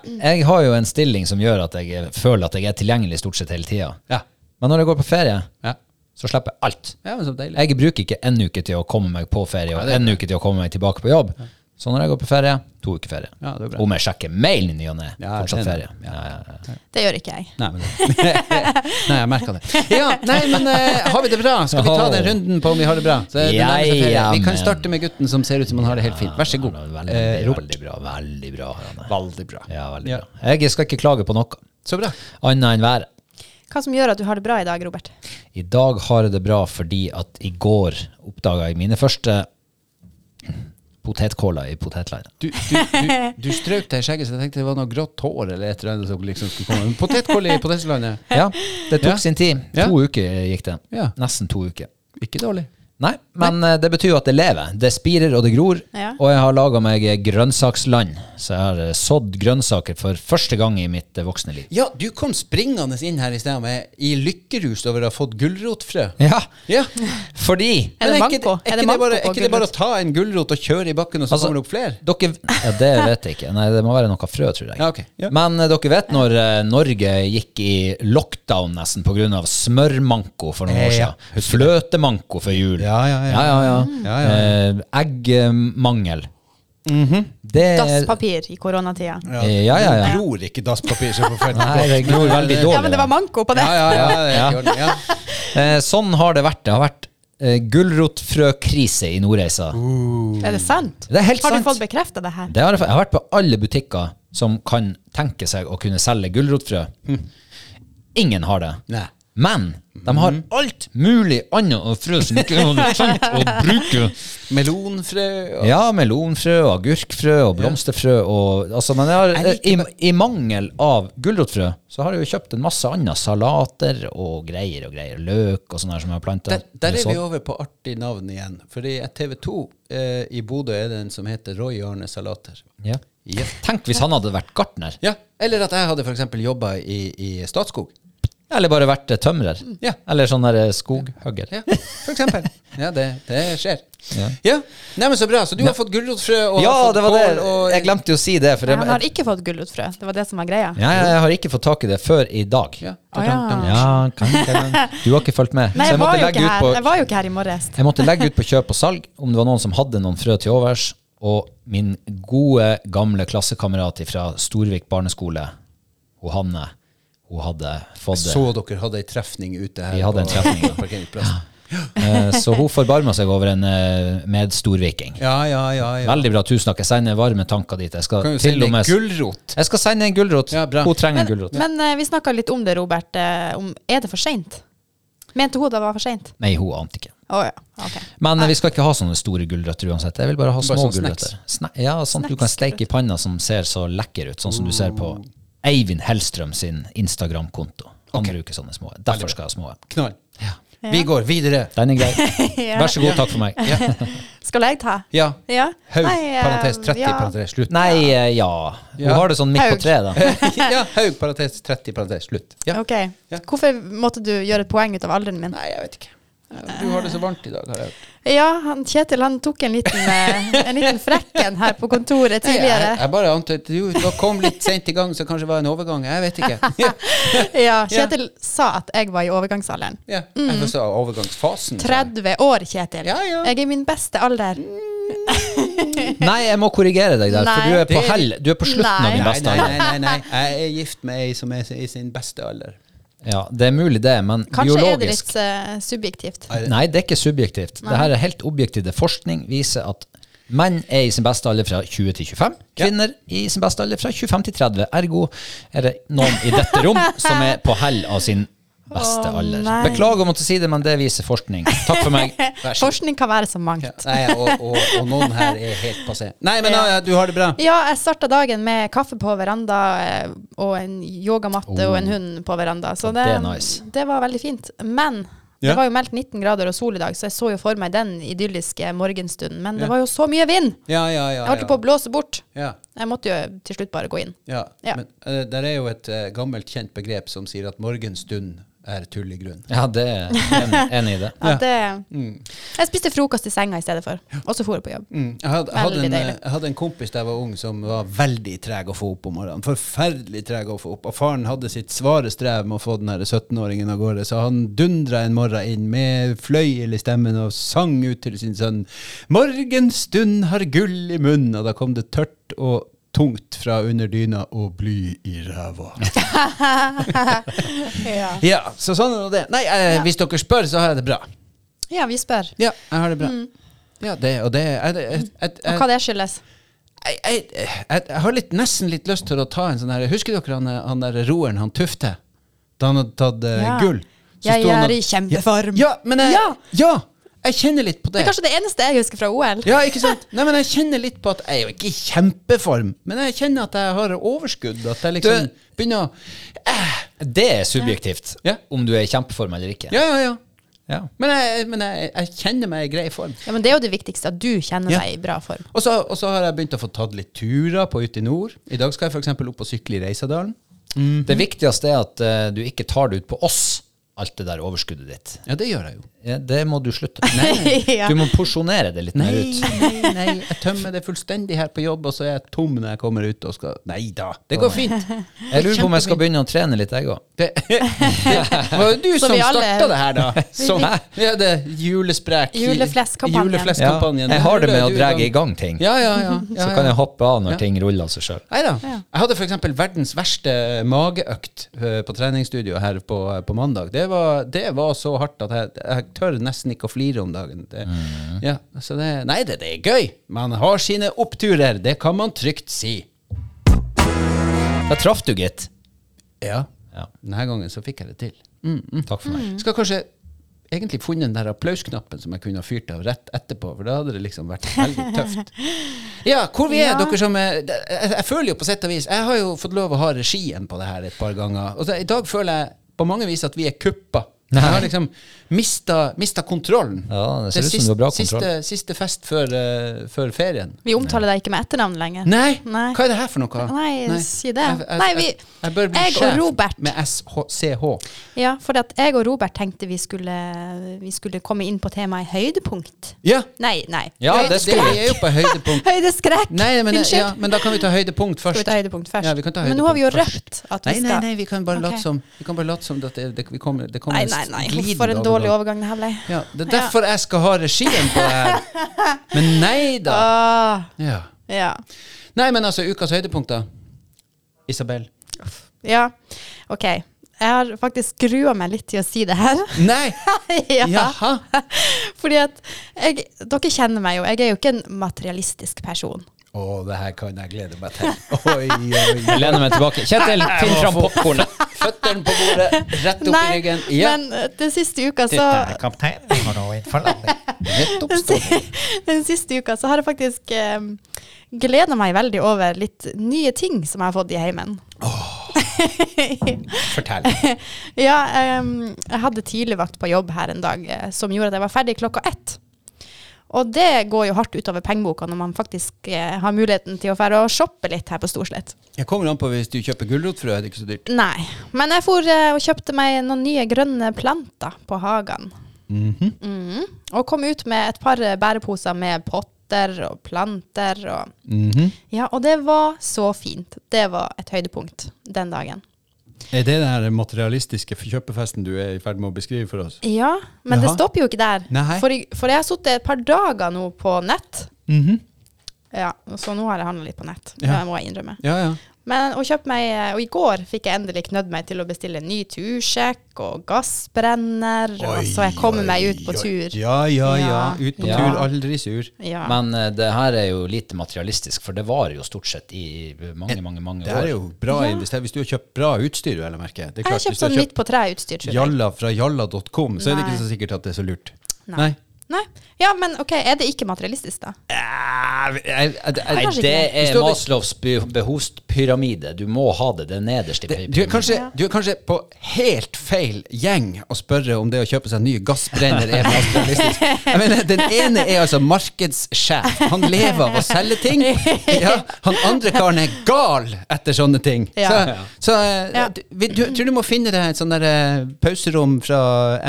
C: Jeg har jo en stilling som gjør at jeg føler at jeg er tilgjengelig stort sett hele tida.
A: Ja.
C: Men når jeg går på ferie,
A: Ja.
C: så slipper jeg alt.
A: ja, men så deilig.
C: Jeg bruker ikke en uke til å komme meg på ferie og en uke til å komme meg tilbake på jobb. Så når jeg går på ferie, to uker ferie.
A: Ja, det er bra.
C: Om jeg sjekker mailen i ny og ne,
A: Ja,
C: fortsatt
A: det er det.
C: ferie. Ja, ja, ja.
B: Det gjør ikke jeg.
A: Nei, men Nei, jeg merka det. Ja, nei, men eh, har vi det bra? Skal vi ta den runden på om vi har det bra? Så det nærmer seg ferie. vi kan
C: Jajamän.
A: starte med gutten som ser ut som han har det helt fint. Vær så god.
C: Ja, Veldig,
A: Eh, Robert.
C: veldig bra. Veldig bra. Hanne.
A: Veldig bra.
C: Ja, veldig
A: Ja.
C: bra. Jeg skal ikke klage på noe
A: Så bra.
C: annet enn været.
B: Hva som gjør at du har det bra i dag, Robert?
C: I dag har jeg det bra fordi at i går oppdaga jeg mine første potetkåler i potetleiren.
A: Du, du, du, du strøk deg i skjegget, så jeg tenkte det var noe grått hår eller et eller annet som liksom skulle komme. Men Potetkolle i potetlandet.
C: Ja, det tok
A: Ja.
C: sin tid.
A: Ja.
C: To uker gikk det.
A: Ja.
C: Nesten to uker.
A: Ikke dårlig.
C: Nei, men eh, det betyr jo at det lever. Det spirer og det gror.
B: Ja.
C: Og jeg har laga meg grønnsaksland, så jeg har eh, sådd grønnsaker for første gang i mitt eh, voksne liv.
A: Ja, du kom springende inn her i sted med i lykkerus over å ha fått gulrotfrø.
C: Ja,
A: Ja.
C: fordi
B: Er
A: Men
B: det
A: ikke- Er
B: manko? Er det
A: ikke det bare,
B: manko på
A: er ikke det bare å ta en gulrot og kjøre i bakken, og så
C: Altså-
A: kommer det opp flere?
C: dere ja, Det vet jeg ikke. Nei, det må være noe frø, tror jeg.
A: Ja, ok. Ja.
C: Men eh, dere vet når eh, Norge gikk i lockdown nesten pga. smørmanko for noen år
A: Ja,
C: siden. Fløtemanko for jul.
A: Ja, ja, ja.
C: ja, ja,
A: Ja,
C: Eh, Eggmangel.
A: Mhm.
C: Det
B: Dasspapir i koronatida.
C: Ja, Eh, ja, ja.
A: Det gror ikke dasspapir så forferdelig
C: Nei, det gror veldig dårlig.
B: Ja, men det var manko på det.
A: Ja, ja, ja. det
C: Ja.
A: gjør det, ja.
C: Eh, sånn har det vært. Det har vært eh, gulrotfrøkrise i Nordreisa.
A: Uh.
B: Er det sant?
C: Det er helt
B: har
C: sant.
B: du fått bekrefta det her?
C: Det har jeg, fa- jeg har vært på alle butikker
A: Hm.
C: som kan tenke seg å kunne selge gulrotfrø. Ingen har det.
A: Nei.
C: Men de har
A: Mhm.
C: alt mulig annet å frø som ikke er noe sant å bruke.
A: Melonfrø og
C: Ja, melonfrø og agurkfrø og blomsterfrø og altså, Men jeg har,
A: Jeg
C: i, i mangel av gulrotfrø, så har jeg jo kjøpt en masse andre salater og greier og greier. Løk og sånne her som jeg har planta.
A: der, der er vi over på artig navn igjen. For i TV2 eh, i Bodø er det en som heter Roy Arne Salater.
C: Ja.
A: Ja.
C: Tenk hvis han hadde vært gartner,
A: ja. Eller at jeg hadde f.eks. jobba i, i Statskog.
C: eller bare vært eh, tømrer,
A: Ja.
C: eller sånn der eh, skoghugger.
A: Ja, for eksempel. Ja, det, det skjer.
C: Ja.
A: Ja. Nei, men så bra. Så du har fått gulrotfrø og
C: Ja,
A: har fått
C: det var det.
A: kål og
C: Jeg glemte jo å si det. For
B: Men han har
C: jeg,
B: ikke fått gullutfrø. Det var det som var greia.
C: ja, jeg har ikke fått tak i det før i dag.
A: Ja.
B: Å, ja.
C: Ja, kan, kan. Du har ikke fulgt med.
B: Nei,
C: så
B: jeg
C: jeg
B: var, jo ikke
C: måtte legge ut
B: her.
C: på
B: jeg var jo ikke her i morges.
C: Jeg måtte legge ut på kjøp og salg om det var noen som hadde noen frø til overs. Og min gode, gamle klassekamerat fra Storvik barneskole, hun Hanne, hun hadde fått det.
A: Så dere hadde ei trefning ute her.
C: Vi hadde en
A: på-
C: trefning, ja.
A: på parkeringsplassen.
C: Eh, Så hun forbarma seg over en eh, medstorviking.
A: Ja, ja, ja. ja.
C: Veldig bra, tusen takk. Jeg sender varme tanker dit. Jeg
A: Kan
C: skal,
A: jo
C: til
A: sende
C: og med,
A: gulrot.
C: jeg skal sende en gulrot.
A: Ja, bra.
C: hun trenger en gulrot.
B: Men eh, vi snakka litt om det, Robert. eh, om, er det for seint? Mente hun det var for seint?
C: Nei, hun ante ikke.
B: Å ja. Ok.
C: Men eh, vi skal ikke ha sånne store gulrøtter uansett. Jeg vil bare ha
A: Bare
C: små
A: sånn snacks.
C: gulrøtter. Sna ja, sånn at du kan steike i panna som ser så lekker ut, sånn som du ser på Eivind Hellstrøm sin Instagram-konto. Han bruker sånne små. Derfor skal jeg ha små.
A: Knall. Vi går videre.
C: Den er grei. Vær så god, takk for meg.
A: Ja.
B: Skal jeg ta?
A: ja.
B: Ja.
A: Haug,
B: Nei, eh,
A: parentes 30,
B: ja.
A: parentes slutt.
C: Nei, eh, ja. Hun
A: Ja.
C: har det sånn midt
B: Haug.
C: på treet, da.
A: ja, Haug, parentes 30, parentes slutt. Ja.
B: Ok.
A: Ja.
B: Hvorfor måtte du gjøre et poeng ut av alderen min?
A: Nei, jeg vet ikke. Du har det så varmt i dag, har jeg hørt.
B: Ja, han Kjetil han tok en liten, eh, en liten frekken her på kontoret
A: Nei, jeg,
B: tidligere.
A: jeg bare antar at du du kom litt seint i gang, så kanskje det var en overgang. Jeg vet ikke. Ja,
B: Ja, Kjetil sa at jeg var i overgangsalderen.
A: ja. Jeg forstår overgangsfasen.
B: 30 år, Kjetil.
A: Ja, ja.
B: Mm. Jeg er i min beste alder.
C: Nei, jeg må korrigere deg der, for
B: Nei.
C: du er på
A: Det-
C: hell. Du er på slutten av
B: Nei.
C: din
A: Nei,
C: beste
A: nei,
C: alder.
A: nei, nei, nei. Jeg er gift med ei som er i sin beste alder.
C: Ja, det er mulig det, men
B: Kanskje er det
C: biologisk
B: litt eh, subjektivt.
C: Nei, det er ikke subjektivt. Det her er helt objektivt. Forskning viser at menn er i sin beste alder fra 20 til 25. Kvinner i sin beste alder fra 25 til 30. Ergo er det noen i dette rom som er på hell av sin beste
B: Å,
C: alder.
B: nei.
C: Beklager å måtte si det, men det viser forskning. Takk for meg.
A: Vær så god.
B: Forskning kan være så
A: Ja.
B: mangt.
A: Nei, og, og, og noen her er helt passé. Nei, men
B: Ja.
A: ja, du har det bra.
B: Ja, jeg starta dagen med kaffe på veranda eh, og en yogamatte og
A: Oh.
B: en hund på veranda. Så det,
C: Det er nice.
B: det var veldig fint. Men
A: Ja.
B: det var jo meldt 19 grader og sol i dag, så jeg så jo for meg den idylliske morgenstunden. Men
A: Ja.
B: det var jo så mye vind!
A: Ja, ja, ja.
B: Jeg holdt jo
A: ja.
B: på å blåse bort.
A: Ja,
B: Jeg måtte jo til slutt bare gå inn.
A: ja.
B: Ja.
A: Men eh, der er jo et eh, gammelt kjent begrep som sier at morgenstund er tull i grunn.
C: Ja, det er en- enig i det.
B: Ja, det,
A: Mm.
B: Jeg spiste frokost i senga i stedet for, og så for jeg på jobb.
A: Jeg hadde, jeg hadde,
B: Veldig
A: en, eh,
B: deilig.
A: jeg hadde en kompis da jeg var ung som var veldig treg å få opp om morgenen. Forferdelig treg å få opp. Og faren hadde sitt svare strev med å få den her 17-åringen av gårde, så han dundra en morgen inn med fløyel i stemmen og sang ut til sin sønn 'Morgenstund har gull i munn', og da kom det tørt og tungt fra under dyna og bly i ræva.
B: Ja.
A: Ja, så sånn er nå det. Nei, eh, hvis dere spør, så har jeg det bra.
B: vi spør.
A: Ja, jeg har det bra. Ja, det og det jeg, jeg, jeg, jeg,
B: Mm. Og hva det skyldes.
A: jeg, jeg, jeg, jeg har litt, nesten litt lyst til å ta en sånn her Husker dere han, han der roeren, han Tufte? Da han hadde tatt eh,
B: Ja.
A: gull? Så
B: Jeg
A: sto han
B: er
A: og-
B: i kjempeform.
A: Ja, men jeg, ja.
B: Ja.
A: jeg kjenner litt på
B: Det
A: det.
B: er kanskje det eneste jeg husker fra OL.
A: Ja, ikke sant? Nei, men jeg kjenner litt på at jeg er jo ikke i kjempeform, men jeg kjenner at jeg har overskudd. At jeg liksom begynner å
C: Det er subjektivt
A: Ja.
C: om du er i kjempeform eller ikke.
A: Ja, ja, ja.
C: Ja.
A: Men jeg, men jeg, jeg kjenner meg i grei form.
B: Ja, men det er jo det viktigste, at du kjenner
A: Ja.
B: deg i bra form.
A: Og så, og så har jeg begynt å få tatt litt turer på ute i nord. I dag skal jeg f.eks. opp og sykle i Reisadalen.
C: Det viktigste er at eh, du ikke tar det ut på oss, alt det der overskuddet ditt.
A: Ja, det gjør jeg jo.
C: Ja, det må du slutte
B: Ja.
C: Du må porsjonere det litt mer
A: Nei,
C: ut.
A: nei, nei, jeg tømmer det fullstendig her på jobb, og så er jeg tom når jeg kommer ut og skal Nei da, det går fint.
C: Jeg lurer på om jeg skal begynne å trene litt, jeg òg.
A: Det, det var jo du
B: Så
A: som
B: vi alle-
A: starta det her, da. Som, ja, det julesprek
B: Julefleskampanjen.
A: Julefleskampanjen.
C: jeg har det med å
A: Du
C: dra
A: kan-
C: i gang ting.
A: Ja, ja, ja. ja,
C: Så kan jeg hoppe av når
A: Ja.
C: ting ruller av seg sjøl.
A: Nei da.
B: Ja.
A: Jeg hadde f.eks. verdens verste mageøkt eh, på treningsstudio her på, eh, på mandag. Det var, det var så hardt at jeg, jeg tør nesten ikke å flire om dagen. Det, ja, så det, nei, det, det er gøy. Man har sine oppturer. Det kan man trygt si.
C: Der traff du, gitt.
A: Ja.
C: Ja.
A: Denne gangen så fikk jeg det til.
C: Takk for
B: Mm.
C: meg.
A: Skal kanskje egentlig funnet den der applausknappen som jeg kunne ha fyrt av rett etterpå, for da hadde det liksom vært veldig tøft. Ja, hvor vi er,
B: Ja.
A: dere som er jeg, jeg føler jo på sett og vis Jeg har jo fått lov å ha regien på det her et par ganger. Og så, I dag føler jeg på mange vis at vi er kuppa. Jeg har liksom mista, mista kontrollen.
C: Ja, det ser ut som du har bra kontroll.
A: Siste, siste fest før, eh, før ferien.
B: Vi omtaler deg ikke med etternavn lenger.
A: Nei,
B: Nei.
A: hva er det her for noe?
B: Nei, si det.
A: Jeg, jeg,
B: Nei, vi-
A: jeg, jeg bør bli
B: jeg og
A: sjef
B: Robert.
A: med SCH.
B: Ja, for at jeg og Robert tenkte vi skulle, vi skulle komme inn på temaet høydepunkt.
A: Ja,
B: Nei, nei.
C: Ja,
A: Høyde-
C: det skulle-
A: Vi er jo på høydepunkt.
B: Høydeskrekk!
A: Nei, men, eh,
B: Unnskyld.
A: ja, men da kan vi ta høydepunkt først.
B: Skal vi ta høydepunkt først?
A: Ja, vi kan ta
B: men nå har vi jo
A: høydepunkt først.
B: røpt at vi
A: Nei,
B: skal
A: nei, nei, vi kan bare
B: Ok.
A: late som Vi kan bare late som at det, det, vi kommer, det kommer
B: Nei,
A: en
B: nei, nei.
A: glidende
B: For en dårlig
A: overgang.
B: overgang det her ble.
A: Ja, det er derfor jeg skal ha regien på det her. Men nei da.
B: Ah. Åh,
A: Ja.
B: ja.
A: Nei, men altså, ukas høydepunkt, da. Isabel.
B: ja. OK. Jeg har faktisk grua meg litt til å si det her.
A: Nei!
B: ja.
A: Jaha.
B: Fordi at jeg, Dere kjenner meg jo. Jeg er jo ikke en materialistisk person.
A: Å, det her kan jeg glede meg til. Oi, oi,
C: Jeg lener meg tilbake. Kjetil, finn
A: må
C: fram
A: få-
C: popkornet.
A: Føttene på bordet, rett opp i ryggen. Ja,
B: men eh, den siste uka så
D: kaptein, vi må nå innfalle
A: rett opp
B: den,
A: står den.
B: si- den siste uka så har jeg faktisk eh, gleda meg veldig over litt nye ting som jeg har fått i heimen.
A: Fortell.
B: ja, em, jeg hadde tidligvakt på jobb her en dag eh, som gjorde at jeg var ferdig klokka ett. Og det går jo hardt utover pengeboka når man faktisk eh, har muligheten til å fære og shoppe litt her på Storslett.
A: Jeg kommer an på hvis du kjøper gulrotfrø, er det ikke så dyrt.
B: Nei, men jeg for eh, og kjøpte meg noen nye grønne planter på hagen. Mhm. Og kom ut med et par eh, bæreposer med potter og planter. Og,
A: Mhm.
B: ja, og det var så fint. Det var et høydepunkt den dagen.
A: Er det den materialistiske kjøpefesten du er i ferd med å beskrive for oss?
B: Ja, men det
A: Jaha.
B: stopper jo ikke der.
A: Nei.
B: For, i- for jeg har sittet et par dager nå på nett. Ja, Så nå har jeg handla litt på nett,
A: Ja.
B: det må jeg innrømme.
A: Ja, ja.
B: Men å kjøpe meg, eh, og i går fikk jeg endelig knødd meg til å bestille ny tursjekk og gassbrenner, og så altså, jeg kommer meg ut på tur.
A: Ja, ja, ja.
B: Ja.
A: Ut på
C: Ja.
A: tur, aldri sur.
B: Ja.
C: Men eh, det her er jo lite materialistisk, for det varer jo stort sett i mange, mange mange
A: Det er
C: år.
A: jo bra investert. Hvis du har kjøpt bra utstyr, vel å merke. Det er
B: jeg har
A: klart,
B: kjøpt
A: hvis du
B: sånn
A: har
B: midt
A: kjøpt
B: på treet-utstyr, tror jeg.
A: jalla fra jalla.com, så er det
B: Nei.
A: ikke så sikkert at det er så lurt.
B: Nei. Nei. Ja, men ok, er det ikke materialistisk, da?
C: Nei,
B: Kanskje ikke.
C: det
A: Hvis
C: er
A: du hadde-
C: Maslows be- behovspyramide. Du må ha det. Det er nederst i
A: Det, du, er
C: pyramiden.
A: kanskje,
B: Ja.
A: du er kanskje på helt feil gjeng å spørre om det å kjøpe seg en ny gassbrenner er materialistisk. Jeg mener, den ene er altså markedssjef. Han lever av å selge ting. Ja, han andre karen er gal etter sånne ting.
B: Ja.
A: Så, så eh,
B: Ja.
A: du, vi- du, tror du må finne deg et sånn der eh, pauserom fra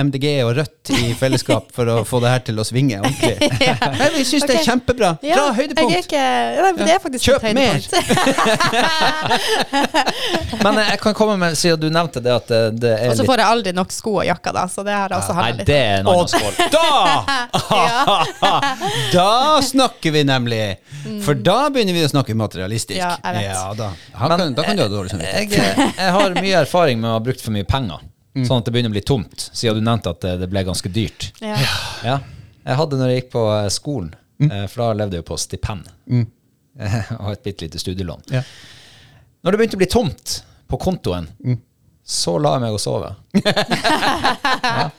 A: MDG og Rødt i fellesskap for å få det her til å svinge ordentlig. Nei, vi syns det er
B: Ok.
A: kjempebra.
B: Ja,
A: Bra
B: Jeg er
A: høydepunkt.
B: ikke, nei, men det er faktisk
A: Kjøp
B: et høydepunkt.
C: Men eh, jeg kan komme med, siden du nevnte det, at det, det er
B: og så
C: litt
B: får jeg aldri nok sko og jakker, da, så det har jeg også
C: Nei,
B: handla litt.
C: det er en annen skål.
A: Da!
B: Ja.
A: Da snakker vi nemlig!
C: Mm.
A: For da begynner vi å snakke materialistisk.
B: Ja, jeg vet.
A: da. Han kan, da kan
C: eh,
A: du ha dårlig samvittighet.
C: Jeg, jeg har mye erfaring med å ha brukt for mye penger,
A: Mm.
C: sånn at det begynner å bli tomt, siden du nevnte at det, det ble ganske dyrt.
B: Ja.
C: Ja. Jeg hadde når jeg gikk på eh, skolen,
A: Mm.
C: eh, for da levde jeg jo på stipend. og et bitte lite studielån.
A: Ja.
C: Når det begynte å bli tomt på kontoen,
A: Mm.
C: så la jeg meg å sove. ja.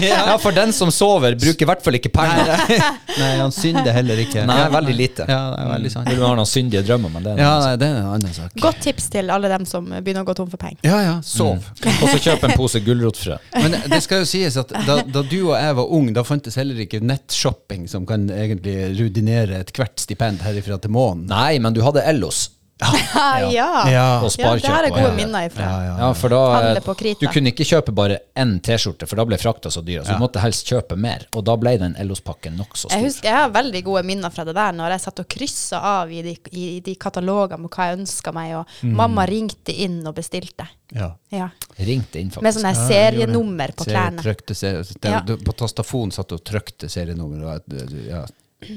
C: ja, for den som sover, bruker i hvert fall ikke penger. Nei,
A: Nei, han synder heller ikke.
C: veldig lite. Mm.
A: Ja, det er veldig sant.
C: Du har noen syndige drømmer, men det er
A: Ja,
C: noe
A: nei, det er en annen sak.
B: Godt tips til alle dem som begynner å gå tom for penger.
A: Ja, ja. Sov.
C: annet. Og så kjøp en pose gulrotfrø.
A: Men det skal jo sies at da, da du og jeg var ung, da fantes heller ikke nettshopping som kan egentlig rudinere ethvert stipend herifra til månen.
C: Nei, men du hadde Ellos.
B: Ja, ja.
A: Ja.
C: Og
B: Ja, det her er
C: sparekjøp,
B: gode
C: ja.
B: minner ifra.
C: Ja, for da
B: Handle på krita.
C: Du kunne ikke kjøpe bare én T-skjorte, for da ble frakta så dyr. Så du måtte helst kjøpe mer, og da ble den Ellos-pakken nokså stor.
B: Jeg husker jeg har veldig gode minner fra det der, når jeg satt og kryssa av i de, i de katalogene med hva jeg ønska meg, og
C: Mm.
B: mamma ringte inn og bestilte.
A: Ja.
B: Ja.
C: Ringte inn,
B: Med
C: faktisk.
B: sånne her serienummer på
A: Se-
B: klærne.
A: trykte se- det-
B: Ja.
A: du- På tastafon satt du og trykte serienummer. og at- Ja.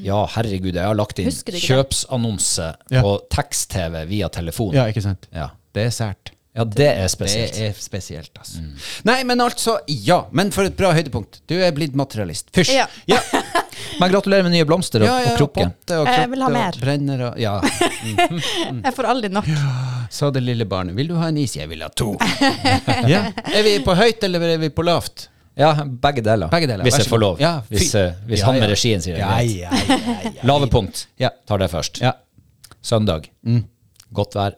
C: Ja, herregud, jeg har lagt inn
B: Husker du ikke
C: kjøpsannonse
A: Ja.
C: på tekst-TV via telefon.
A: ja, ikke sant?
C: Ja.
A: Det er sært.
C: Ja, det er spesielt.
A: Det er spesielt, altså. Nei, men altså, ja. Men for et bra høydepunkt. Du er blitt materialist. Fysj.
B: Ja.
C: Men gratulerer med nye blomster og,
A: Ja, ja,
C: og krukke.
A: potte og
B: Jeg vil ha
A: krukke og
B: mer.
A: Brenner og Ja.
B: Jeg får aldri nok.
A: Sa det lille barnet. Vil du ha en is? Jeg vil ha to. ja. Er vi på høyt, eller er vi på lavt?
C: Ja, begge deler.
A: Begge deler,
C: Hvis
A: vær
C: jeg
A: så
C: får
A: god.
C: lov.
A: Ja,
C: hvis
A: fy-
C: eh, hvis
A: Ja,
C: han med
A: ja.
C: regien sier det.
A: Ja,
C: greit.
A: ja, ja, ja.
C: Lave punkt.
A: Ja.
C: Tar det først.
A: ja. Mm.
C: Søndag. Godt vær.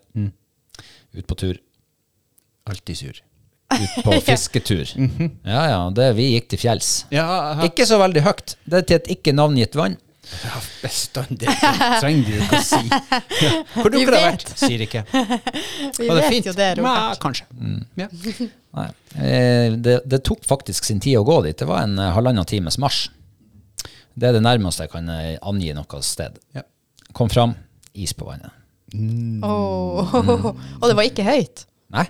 C: Ut på tur.
A: Alltid sur.
C: Ut på fisketur. Ja, ja. Det, vi gikk til fjells.
A: Mhm. Ja, ha-
C: Ikke så veldig høyt. Det er til et ikke navngitt vann.
A: ja bestandig. Det trenger du jo ikke å si. Ja. Hvor dere
B: Vi
A: har
B: vet.
A: vært? Sier ikke.
B: Vi
A: Var det
B: vet
A: fint?
B: jo det,
A: Ja,
B: Robert.
A: kanskje. Ja.
C: Nei. Eh, Det, det tok faktisk sin tid å gå dit. Det var en eh, halvannen times marsj. Det er det nærmeste jeg kan eh, angi noe sted.
A: Ja.
C: Kom fram, is på vannet.
B: Åh.
C: Mm.
B: Og det var ikke høyt.
C: Nei.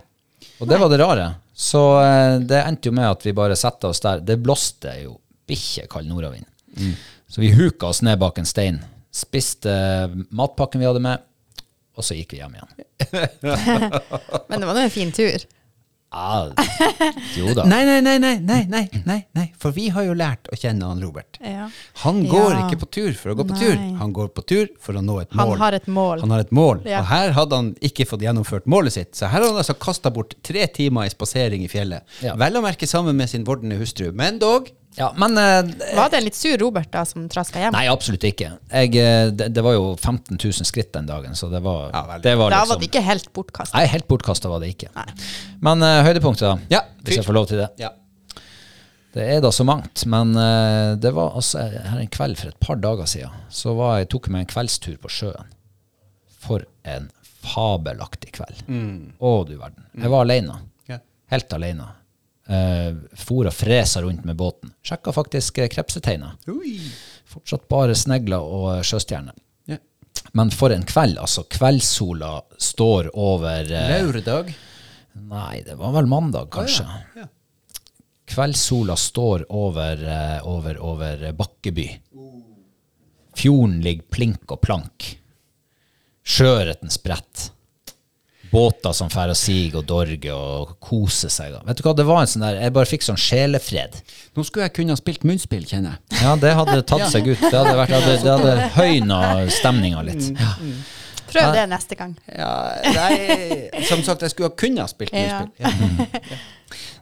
C: Og det var det rare. Så eh, det endte jo med at vi bare satte oss der. Det blåste jo bikkjekald nordavind.
A: Mm.
C: Så vi huka oss ned bak en stein, spiste eh, matpakken vi hadde med, og så gikk vi hjem igjen.
B: Men det var nå en fin tur.
C: Ja, Ah, jo da.
A: Nei, nei, nei, nei, nei, nei, nei, nei. For vi har jo lært å kjenne han Robert.
B: Ja.
A: Han går
B: Ja.
A: ikke på tur for å gå på
B: Nei.
A: tur. Han går på tur for å nå et
B: Han
A: mål.
B: har et mål.
A: Han har et mål.
B: Ja.
A: Og her hadde han ikke fått gjennomført målet sitt. Så her har han altså kasta bort tre timer i spasering i fjellet.
C: Ja.
A: Vel å merke sammen med sin vordende hustru, men dog.
C: Ja, men eh,
B: Var det en litt sur Robert da som traska hjem?
C: Nei, absolutt ikke. Jeg, eh, det, det var jo 15 000 skritt den dagen, så det var,
A: Ja, veldig.
C: det var
B: da
C: liksom
B: var det ikke helt bortkasta.
C: Nei, helt bortkasta var det ikke. Men eh, høydepunktet, da.
A: Ja, fyr.
C: hvis jeg får lov til det.
A: Ja.
C: Det er da så mangt, men eh, det var altså eh, her en kveld for et par dager siden, så var jeg, tok jeg meg en kveldstur på sjøen. For en fabelaktig kveld. Å, du verden. Jeg var alene.
A: Mm. Ja.
C: Helt alene. Eh, for og fresa rundt med båten. Sjekka faktisk eh, krepseteiner.
A: Ui.
C: Fortsatt bare snegler og eh, sjøstjerner.
A: Ja.
C: Men for en kveld, altså. Kveldssola står over eh,
A: Lørdag.
C: Nei, det var vel mandag, kanskje.
A: Ja.
C: Kveldssola står over, eh, over, over eh, Bakkeby. Fjorden ligger plink og plank. Sjøørreten spredt. Båter som fer og siger og dorger og koser seg. da. Vet du hva, det var en sånn der, Jeg bare fikk sånn sjelefred.
A: Nå skulle jeg kunne ha spilt munnspill, kjenner jeg.
C: Ja, det hadde tatt seg ut. Det hadde, vært, det hadde, det hadde høyna stemninga litt. Ja.
B: Prøv det neste gang.
A: Ja, nei, som sagt, jeg skulle ha kunnet ha spilt
B: Ja.
A: munnspill. Ja.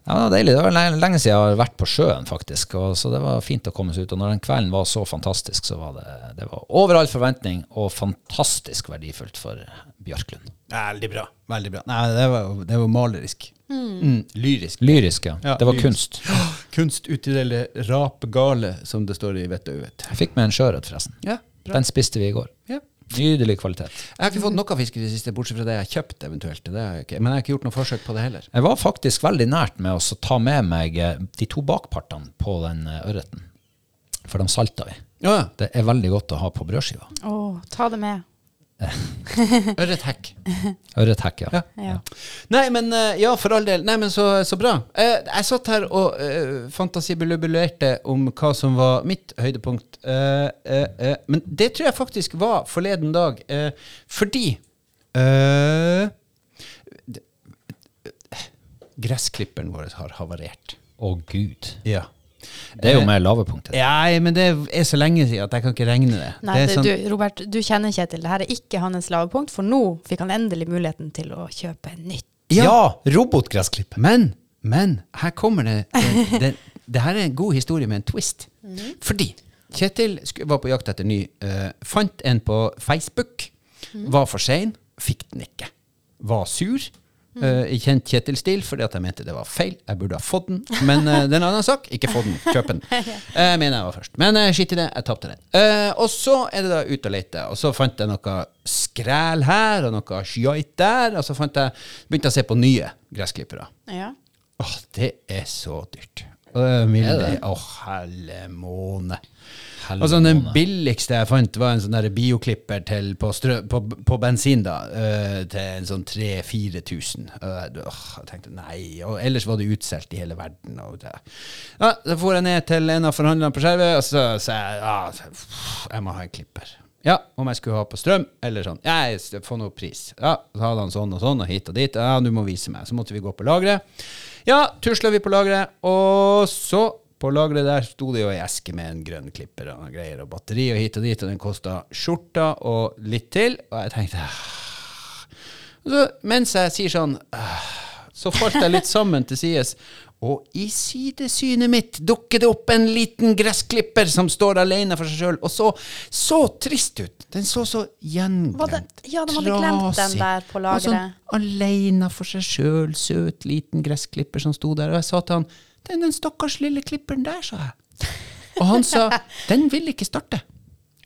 C: Ja, det var deilig. Det var lenge, lenge siden jeg har vært på sjøen, faktisk. Og, så det var fint å komme seg ut. Og når den kvelden var så fantastisk, så var det, det var over all forventning og fantastisk verdifullt for Bjørklund.
A: Veldig bra. Veldig bra. Nei, det var, det var malerisk. Mm, lyrisk.
C: Lyrisk, ja.
A: Ja,
C: det var
A: lyrisk.
C: kunst.
A: Kunst utdeler rapgale, som det står i Vettau, vet
C: Jeg fikk med en sjøørret, forresten.
A: Ja, bra.
C: Den spiste vi i går.
A: Ja.
C: Nydelig kvalitet.
A: Jeg har ikke fått noe fisk i det siste, bortsett fra det jeg har kjøpt eventuelt. Det har jeg ikke. Men jeg har ikke gjort noe forsøk på det heller.
C: Jeg var faktisk veldig nært med å så ta med meg eh, de to bakpartene på den eh, ørreten. For dem salta vi.
A: Ja,
C: Det er veldig godt å ha på brødskiva.
B: Å, ta det med.
A: Ørrethekk.
C: Ørrethekk, ja.
B: Ja.
A: Nei, men eh, ja, for all del. Nei, men så, så bra. Eh, Jeg satt her og eh, fantasibulubulerte om hva som var mitt høydepunkt. Eh, eh, eh, Men det tror jeg faktisk var forleden dag, eh, fordi eh, det- Gressklipperen vår har havarert.
C: Å, gud.
A: Ja.
C: Det er jo mer lavepunktet.
A: Nei, men det er så lenge siden at jeg kan ikke regne det.
B: Nei,
A: det er
B: det,
A: sånn-
B: du, Robert, du kjenner Kjetil. Det her er ikke hans lavepunkt, for nå fikk han endelig muligheten til å kjøpe nytt.
C: Ja, robotgressklipper.
A: Men, men, her kommer det eh, det, det det her er en god historie med en twist. Fordi Kjetil sku- var på jakt etter ny. eh, fant en på Facebook. Var for sein, fikk den ikke. Var sur. eh, I kjent Kjetil-stil, fordi at jeg mente det var feil. Jeg burde ha fått den. Men eh, det er en annen sak. Ikke få den, kjøp den. Eh, mener jeg var først. Men eh, skitt i det, jeg tapte den. Eh, og så er det da ut og lete, og så fant jeg noe skræl her, og noe sjait der, og så fant jeg, begynte jeg å se på nye gressklippere.
B: Ja.
A: Åh, det er så dyrt. Åh,
C: Er det?
A: Åh, helle måne. Altså, den billigste jeg fant, var en sånn der bioklipper til på, strø, på, på bensin, da. øh, til en sånn 3000-4000. Åh, jeg tenkte nei. Og ellers var det utsolgt i hele verden. Og det. Ja, så for jeg ned til en av forhandlerne på Skjervøy, og så sa jeg ja, jeg må ha en klipper. Ja, om jeg skulle ha på strøm, eller sånn. Nei, s- få noe pris. Ja, så hadde han sånn og sånn, og hit og dit. Ja, du må vise meg. Så måtte vi gå på lageret. Ja, tusla vi på lageret, og så På lageret der sto det jo ei eske med en grønn klipper og noen greier og batteri og hit og dit, og den kosta skjorta og litt til, og jeg tenkte «Ah». Og så, Mens jeg sier sånn «Ah», Så falt jeg litt sammen til sides, og i sidesynet mitt dukker det opp en liten gressklipper som står alene for seg sjøl, og så så trist ut. Den så så
B: Var det-
A: gjenglemt.
B: ja, de hadde glemt den
A: trasig.
B: der på
A: Og sånn
B: lageret.
A: aleine for seg sjøl, søt liten gressklipper som sto der. Og jeg sa til han den, den stakkars lille klipperen der, sa jeg. Og han sa den vil ikke starte.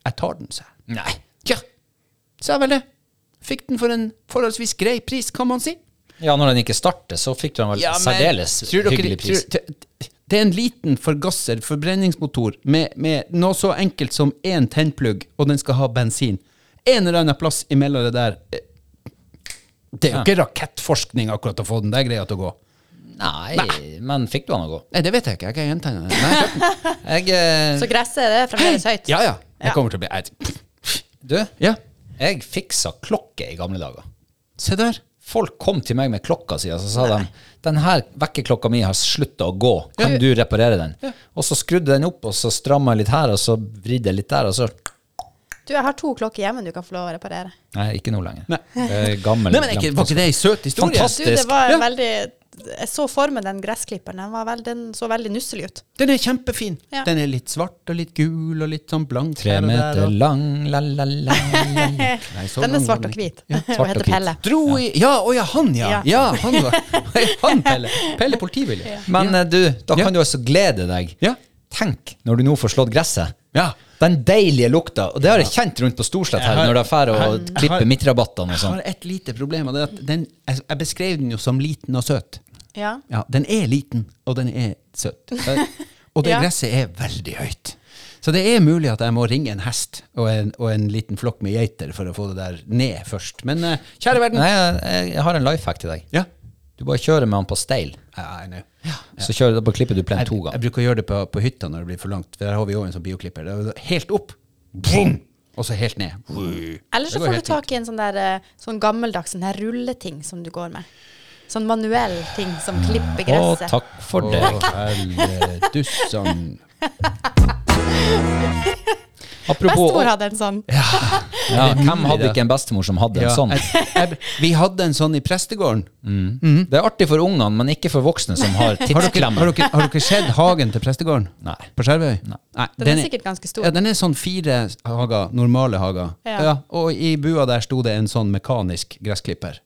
A: Jeg tar den, sa jeg.
C: Nei.
A: Ja, sa jeg vel det. Fikk den for en forholdsvis grei pris, kan man si.
C: Ja, når den ikke starter, så fikk du den vel særdeles
A: tror dere-
C: hyggelig pris.
A: tror- t- t- det er en liten forgasser, forbrenningsmotor, med, med noe så enkelt som én tennplugg, og den skal ha bensin. En eller annen plass imellom det der eh, Det er jo
C: Ja.
A: ikke rakettforskning akkurat å få den der greia til å gå.
C: Nei, men fikk du den å gå?
A: Nei, det vet jeg ikke. Jeg er gjentegna. Nei, jeg kjøpte den.
C: Jeg, eh,
B: Så gresset det er fremdeles høyt.
A: ja, ja.
B: Ja.
A: Jeg kommer til å bli jeg,
C: du,
A: Ja,
C: jeg fiksa klokke i gamle dager.
A: se der.
C: Folk kom til meg med klokka si, og så sa de den her vekkerklokka mi har slutta å gå, kan du reparere den? Og så skrudde den opp, og så stramma jeg litt her, og så vridde jeg litt der, og så
B: Du, jeg har to klokker hjemme du kan få lov å reparere.
C: Nei, ikke nå lenger.
A: Nei.
C: Eh, Gammel.
A: Nei, men er ikke- Var ikke det ei søt historie?
C: Fantastisk.
B: Du, det var
A: Ja.
B: en veldig Jeg så for meg den gressklipperen. Den, var veld, den så veldig nusselig ut.
A: Den er kjempefin.
B: Ja.
A: Den er litt svart og litt gul og litt sånn blank.
C: Tre
A: her og der,
C: meter
A: og-
C: lang, la, la, la, la.
A: Nei, så
B: Den
A: lang var
B: er svart
A: den
B: og
A: ikke.
B: hvit.
C: svart og
B: Og heter
C: hvit.
B: Pelle.
A: Dro i Ja, å ja, han, ja.
B: Ja.
A: Ja, han var Han Pelle. Pelle politibil.
C: Men eh, du, da
A: Ja.
C: kan du altså glede deg.
A: Ja.
C: Tenk når du nå får slått gresset.
A: Ja.
C: Den deilige lukta. Og det har jeg kjent rundt på Storslett
A: Jeg
C: her,
A: har-
C: når de drar
A: jeg
C: og
A: har-
C: klipper midtrabattene
A: Jeg
C: og
A: har
C: sånn.
A: et lite problem, og det er at den Jeg jeg beskrev den jo som liten og søt.
B: Ja.
A: Ja, den er liten, og den er søt. Og det
B: Ja.
A: gresset er veldig høyt. Så det er mulig at jeg må ringe en hest og en, og en liten flokk med geiter for å få det der ned først. Men eh, kjære verden
C: Nei, jeg, jeg har en life hack til deg.
A: Ja.
C: Du bare kjører med han på steil,
A: Ja, jeg er nå.
C: så kjører du, da bare klipper du plen
A: Jeg,
C: to ganger.
A: jeg bruker å gjøre det på, på hytta når det blir for langt, for der har vi jo en sånn bioklipper. Det er Helt opp, boom, og så helt ned.
B: Eller
A: Det
B: så
A: går
B: får du
A: helt
B: tak i en sånn der eh, sånn gammeldags sånn her rulleting som du går med. Sånn manuell ting som klipper
C: Å,
B: gresset.
C: takk for det.
A: Helvedussan.
C: Apropos
B: Bestemor hadde en sånn.
C: ja, Hvem
A: mulig,
C: hadde
A: det?
C: ikke en bestemor som hadde en
A: Ja,
C: sånn? Mm. Mhm.
A: jeg, jeg, vi hadde en sånn i prestegården.
C: Det er artig for ungene, men ikke for voksne som har
A: Mhm. Har dere,
C: tidsklemmer.
A: har, dere, har dere sett hagen til prestegården?
C: Nei.
A: På Skjervøy? Nei,
B: Den er sikkert ganske stor.
A: Ja, den er sånn fire hager, normale hager. Ja.
B: Ja.
A: og i bua der sto det en sånn mekanisk gressklipper.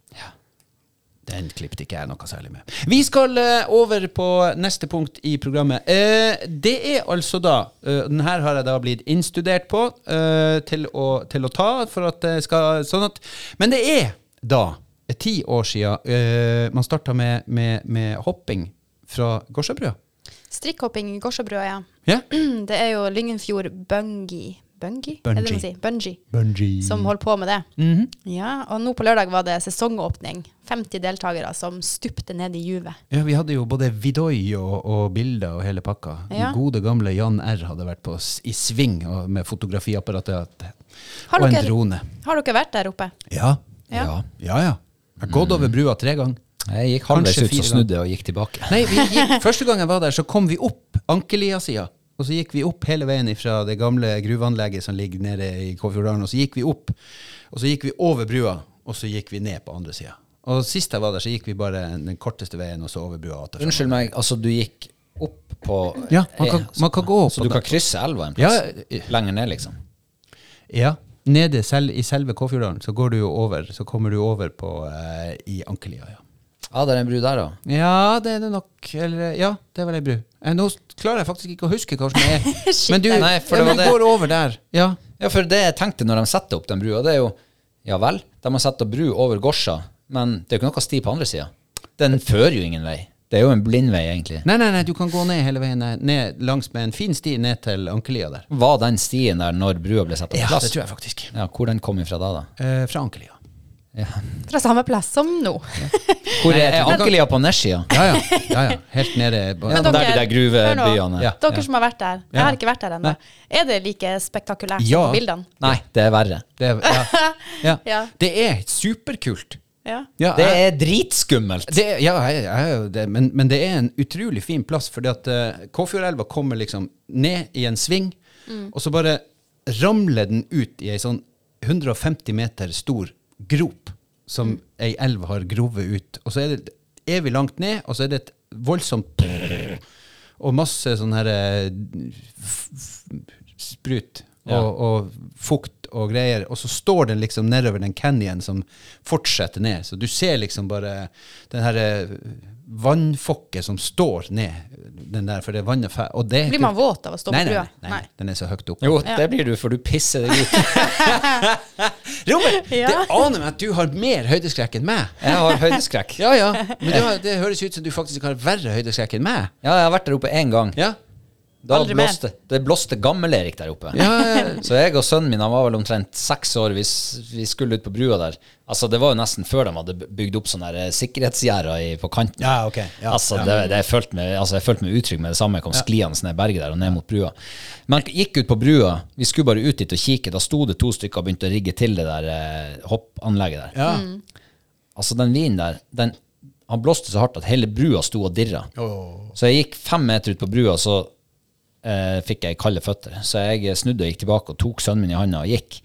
A: Den klippet ikke jeg noe særlig med. Vi skal eh, over på neste punkt i programmet. Eh, det er altså da eh, Den her har jeg da blitt innstudert på eh, til, å, til å ta, for at det skal sånn at Men det er da eh, ti år sia eh, man starta med, med, med hopping fra Gårdsabrua.
B: Strikkhopping i Gårdsabrua, ja.
A: Ja?
B: Det er jo Lyngenfjord Bungie. Bungie? Er det det man
A: Bungee.
B: sier? Bungee.
A: Bungee.
B: Som holder på med det. Ja, og nå på lørdag var det sesongåpning. 50 deltakere som stupte ned i juvet.
A: Ja, vi hadde jo både Vidoi og, og bilder og hele pakka.
B: Ja.
A: Gode gamle Jan R. hadde vært på s- i sving og med fotografiapparatet
B: Har
A: og en
B: dere-
A: drone.
B: Har dere vært der oppe?
A: Ja.
B: Ja.
C: Ja.
A: Ja, ja. Jeg har gått over brua tre ganger.
C: Jeg gikk halvveis
A: Kanskje
C: ut, så
A: fire
C: snudde jeg og gikk tilbake.
A: Nei, vi gikk, første gang jeg var der, så kom vi opp Ankelia-sida. Og så gikk vi opp hele veien fra det gamle gruveanlegget som ligger nede i Kåfjorddalen. Og så gikk vi opp, og så gikk vi over brua, og så gikk vi ned på andre sida. Og sist jeg var der, så gikk vi bare den korteste veien, og så over brua. og tilbake.
C: Unnskyld meg, altså du gikk opp på eh,
A: Ja, man kan- man kan gå opp
C: Så
A: på
C: du
A: den.
C: kan krysse elva en
A: Ja,
C: plass?
A: eh,
C: Lenger ned, liksom?
A: Ja. Nede sel i selve Kåfjorddalen så går du jo over, så kommer du over på eh, i Ankelia, ja.
C: Ja, det er en bru der, da.
A: Ja, det er det nok. Eller ja, det er vel ei bru. Eh, nå s- klarer jeg faktisk ikke å huske hva som er
B: Shit,
A: Men du,
C: Nei, for
A: ja,
C: det var
A: men
C: det.
A: går over der. Ja.
C: Ja, for det jeg tenkte når de setter opp den brua, det er jo Ja vel, de har satt opp bru over Gorsa, men det er jo ikke noe sti på andre sida. Den fører jo ingen vei. Det er jo en blindvei, egentlig.
A: Nei, nei, nei, du kan gå ned hele veien ned, ned langs med en fin sti ned til Ankelia der.
C: Var den stien der når brua ble satt opp på plass?
A: tror jeg faktisk.
C: Ja, Hvor den kom ifra da, da?
A: Eh, fra Ankelia.
B: Fra samme plass som nå.
C: Hvor er, er Ankelia på nedsida?
A: Ja, ja. ja, ja. Helt nede på-
C: Ja,
B: Men
C: der
B: dere-
C: de der gruvebyene.
B: Hør nå.
A: Ja.
B: Dere som har vært der. Jeg
A: Ja.
B: har ikke vært der ennå. Er det like spektakulært som
A: Ja.
B: på bildene?
C: Nei, det er verre.
A: Det, er- ja. Ja.
B: Ja.
A: det er superkult.
B: Ja.
A: Ja,
C: Det
A: jeg-
C: er dritskummelt.
A: Det, ja, jeg, jeg, er jo det, men, men det er en utrolig fin plass, fordi at eh, Kåfjordelva kommer liksom ned i en sving, og så bare ramler den ut i ei sånn 150 meter stor grop som ei elv har grovet ut. Og så er det evig langt ned, og så er det et voldsomt og masse sånn her eh, f- f- sprut og,
C: Ja.
A: og fukt og greier. Og så står den liksom nedover den canyon som fortsetter ned. Så du ser liksom bare den her eh, vannfokket som står ned. Den der, for det vannet fæ- og det,
B: Blir man våt av å stå
A: nei,
B: på
A: nei,
B: brua?
A: nei, nei, den er så høyt opp.
C: Jo,
B: Ja.
C: det blir du, for du pisser deg ut.
A: Robert, det
B: Ja.
A: aner meg at du har mer høydeskrekk enn meg.
C: Jeg har høydeskrekk.
A: Ja, ja. Men det, har- det høres ut som du faktisk har verre høydeskrekk enn meg.
C: Ja, jeg har vært der oppe én gang.
A: Ja.
C: Da
B: Aldri mer.
C: blåste, det blåste gammel-Erik der oppe.
A: Ja.
C: Så jeg og sønnen min han var vel omtrent seks år hvis vi skulle ut på brua der. Altså, Det var jo nesten før de hadde bygd opp sånne der, eh, sikkerhetsgjerder i- på kanten.
A: Ja, ok. Ja,
C: altså, Det, det jeg følte meg, altså, Jeg følte meg utrygg med det samme. Jeg kom skliende ned berget der og ned mot brua. Men jeg gikk ut på brua. Vi skulle bare ut dit og kikke. Da sto det to stykker og begynte å rigge til det der eh, hoppanlegget der.
A: Ja.
B: Mm.
C: Altså, den vinen der, den, han blåste så hardt at hele brua sto og dirra.
A: Åh.
C: Så jeg gikk fem meter ut på brua, så eh, fikk jeg kalde føtter. Så jeg snudde og gikk tilbake og tok sønnen min i handa og gikk.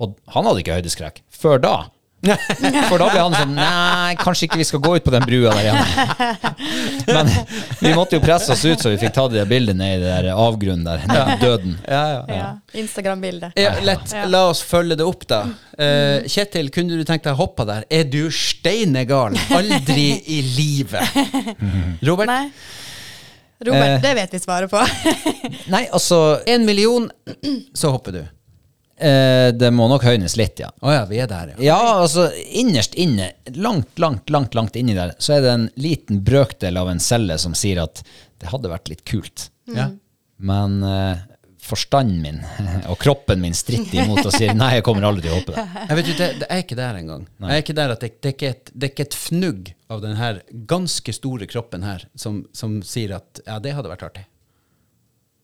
C: Og han hadde ikke høydeskrekk før da. For da ble han sånn Nei, kanskje ikke vi skal gå ut på den brua der igjen. Men vi måtte jo presse oss ut, så vi fikk ta det bildet ned i det der avgrunnen der. Ned i døden.
B: Ja. Instagram-bilde.
A: Ja, lett. La oss følge det opp, da.
B: Mm.
A: Eh, Kjetil, kunne du tenkt deg å hoppe der? Er du steinegal? Aldri i livet. Robert,
B: Nei. Robert, det vet vi svaret på.
C: Nei, altså
A: én million, så hopper du. Å
C: eh, Det må nok høynes litt, ja.
A: ja, vi er der, ja.
C: Ja, altså innerst inne, langt, langt, langt langt inni der, så er det en liten brøkdel av en celle som sier at det hadde vært litt kult.
A: ja.
C: Men eh, forstanden min og kroppen min stritter imot og sier nei, jeg kommer aldri til å hoppe det.
A: Jeg vet ikke, det, det er ikke der engang. Jeg er ikke der at Det, det, er ikke et- det er ikke et fnugg av den her ganske store kroppen her som, som sier at ja, det hadde vært artig.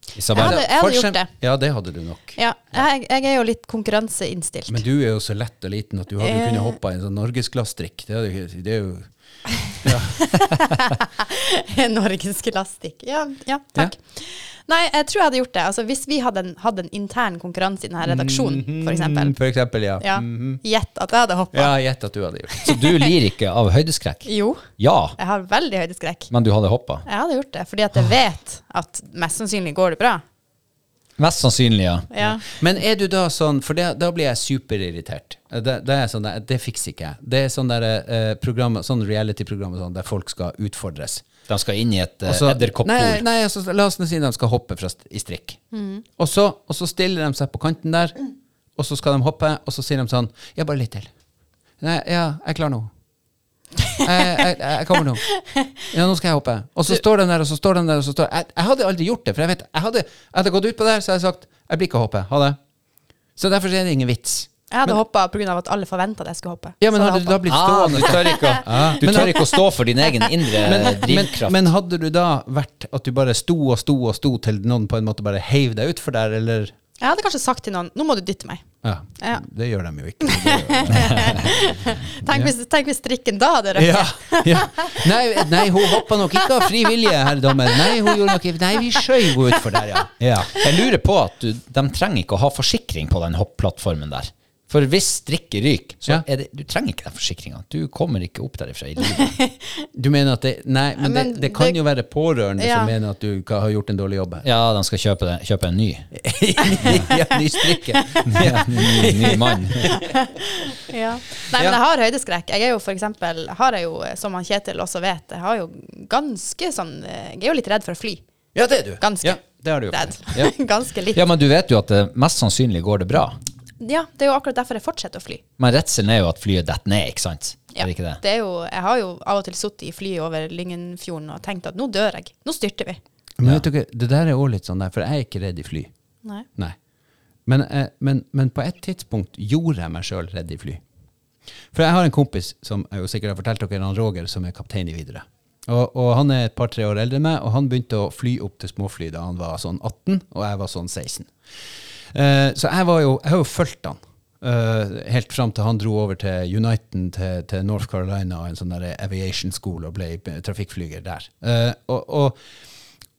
B: Jeg hadde,
C: Isabel,
B: jeg hadde
A: For
B: gjort det.
A: eksempel- Ja, det hadde du nok.
B: Ja, jeg, jeg er jo litt konkurranseinnstilt.
A: Men du er jo så lett og liten at du hadde jo kunnet
B: Eh.
A: hoppe i en sånn norgesglassdrikk. Det, hadde jo ikke- det er jo
B: Norgesgelastikk. Ja, ja, takk. Nei, jeg tror jeg hadde gjort det. Altså, hvis vi hadde en, hadde en intern konkurranse i denne redaksjonen,
A: Mm,
B: f.eks.
A: For eksempel, ja. Mhm.
B: Ja, gjett at jeg hadde hoppa.
A: Ja, gjett at du hadde gjort
C: så du lir ikke av høydeskrekk?
B: Jo,
C: Ja,
B: jeg har veldig høydeskrekk.
C: men du hadde hoppa?
B: Jeg hadde gjort det, fordi at
A: Ah.
B: jeg vet at mest sannsynlig går det bra.
C: Mest sannsynlig, ja.
B: Ja.
A: Men er du da sånn, for det, da blir jeg superirritert. Det, det er sånn der, det fikser ikke jeg. Det er sånn der, eh, program, sånn reality-program og sånn, der folk skal utfordres.
C: De skal inn i et eh,
A: Altså, Nei,
C: edderkoppbord.
A: nei altså, la oss nå si de skal hoppe fra, st- i strikk. Og, så, og så stiller de seg på kanten der, og så skal de hoppe, og så sier de sånn, ja, bare litt til. Nei, ja, jeg er klar nå. Jeg, jeg, jeg kommer nå. Ja, nå skal jeg hoppe. Og så står de der, og så står de der, og så står Jeg, jeg hadde aldri gjort det, for jeg vet, jeg hadde, jeg hadde gått ut på der, så hadde jeg sagt, jeg blir ikke å hoppe, ha det. Så derfor er det ingen vits.
B: Jeg hadde hoppa pga. at alle forventa at jeg skulle hoppe.
A: Ja, men
B: Så hadde
A: hadde
B: jeg
A: du da blitt
C: Ah, du
A: stående
C: tør ikke å, du tør ikke å stå for din egen indre
A: Eh, men,
C: drivkraft.
A: men hadde du da vært at du bare sto og sto og sto til noen på en måte bare heiv deg utfor der, eller
B: hoppet. jeg hadde kanskje sagt til noen 'nå må du dytte meg'.
A: ja,
B: Ja.
A: Det gjør de jo ikke.
B: Tenk hvis, tenk hvis strikken da hadde røkt.
A: Ja, ja. Nei, nei, hun hoppa nok ikke av fri vilje, herr dommer. Nei, hun gjorde nok ikke Nei, vi skjøv henne utfor der, ja. ja.
C: Jeg lurer på at du, de trenger ikke å ha forsikring på den hopp-plattformen der. For hvis strikket ryker, så
A: Ja.
C: er det, du trenger ikke den forsikringa. Du kommer ikke opp derifra i livet.
A: Du mener at det Nei, men,
B: Men
A: det, det kan
B: det-
A: jo være pårørende
B: Ja.
A: som mener at du ka- har gjort en dårlig jobb her.
C: Ja, de skal kjøpe, det, kjøpe en ny.
A: Ja, ny strikke.
C: Ny, ny mann.
B: Ja. Nei, men jeg har høydeskrekk. Jeg er jo for eksempel, har jeg jo, som han Kjetil også vet, jeg har jo ganske sånn eh, Jeg er jo litt redd for å fly.
A: Ja, det er du.
B: Ganske.
A: Ja, det har du gjort.
B: Redd.
A: Ja.
B: ganske litt.
C: Ja, men du vet jo at det mest sannsynlig går det bra.
B: Ja, det er jo akkurat derfor jeg fortsetter å fly.
C: Men redselen er jo at flyet detter ned, ikke sant?
B: Ja,
C: Er det ikke det?
B: er jo, jeg har jo av og til sittet i flyet over Lyngenfjorden og tenkt at nå dør jeg. Nå styrter vi.
A: Men vet du ikke, det der er også litt sånn der, for jeg er ikke redd i fly.
B: Nei.
A: Nei. Men, eh, men, men på et tidspunkt gjorde jeg meg sjøl redd i fly. For jeg har en kompis som jeg jo sikkert har fortalt dere, han Roger, som er kaptein i Widerøe. Og, og han er et par-tre år eldre enn meg, og han begynte å fly opp til småfly da han var sånn 18, og jeg var sånn 16. Eh, så jeg var jo, jeg har jo fulgt han. Eh, eh, helt fram til han dro over til Uniten til, til North Carolina, en sånn der aviation school, og ble b- trafikkflyger der. Eh, og, og,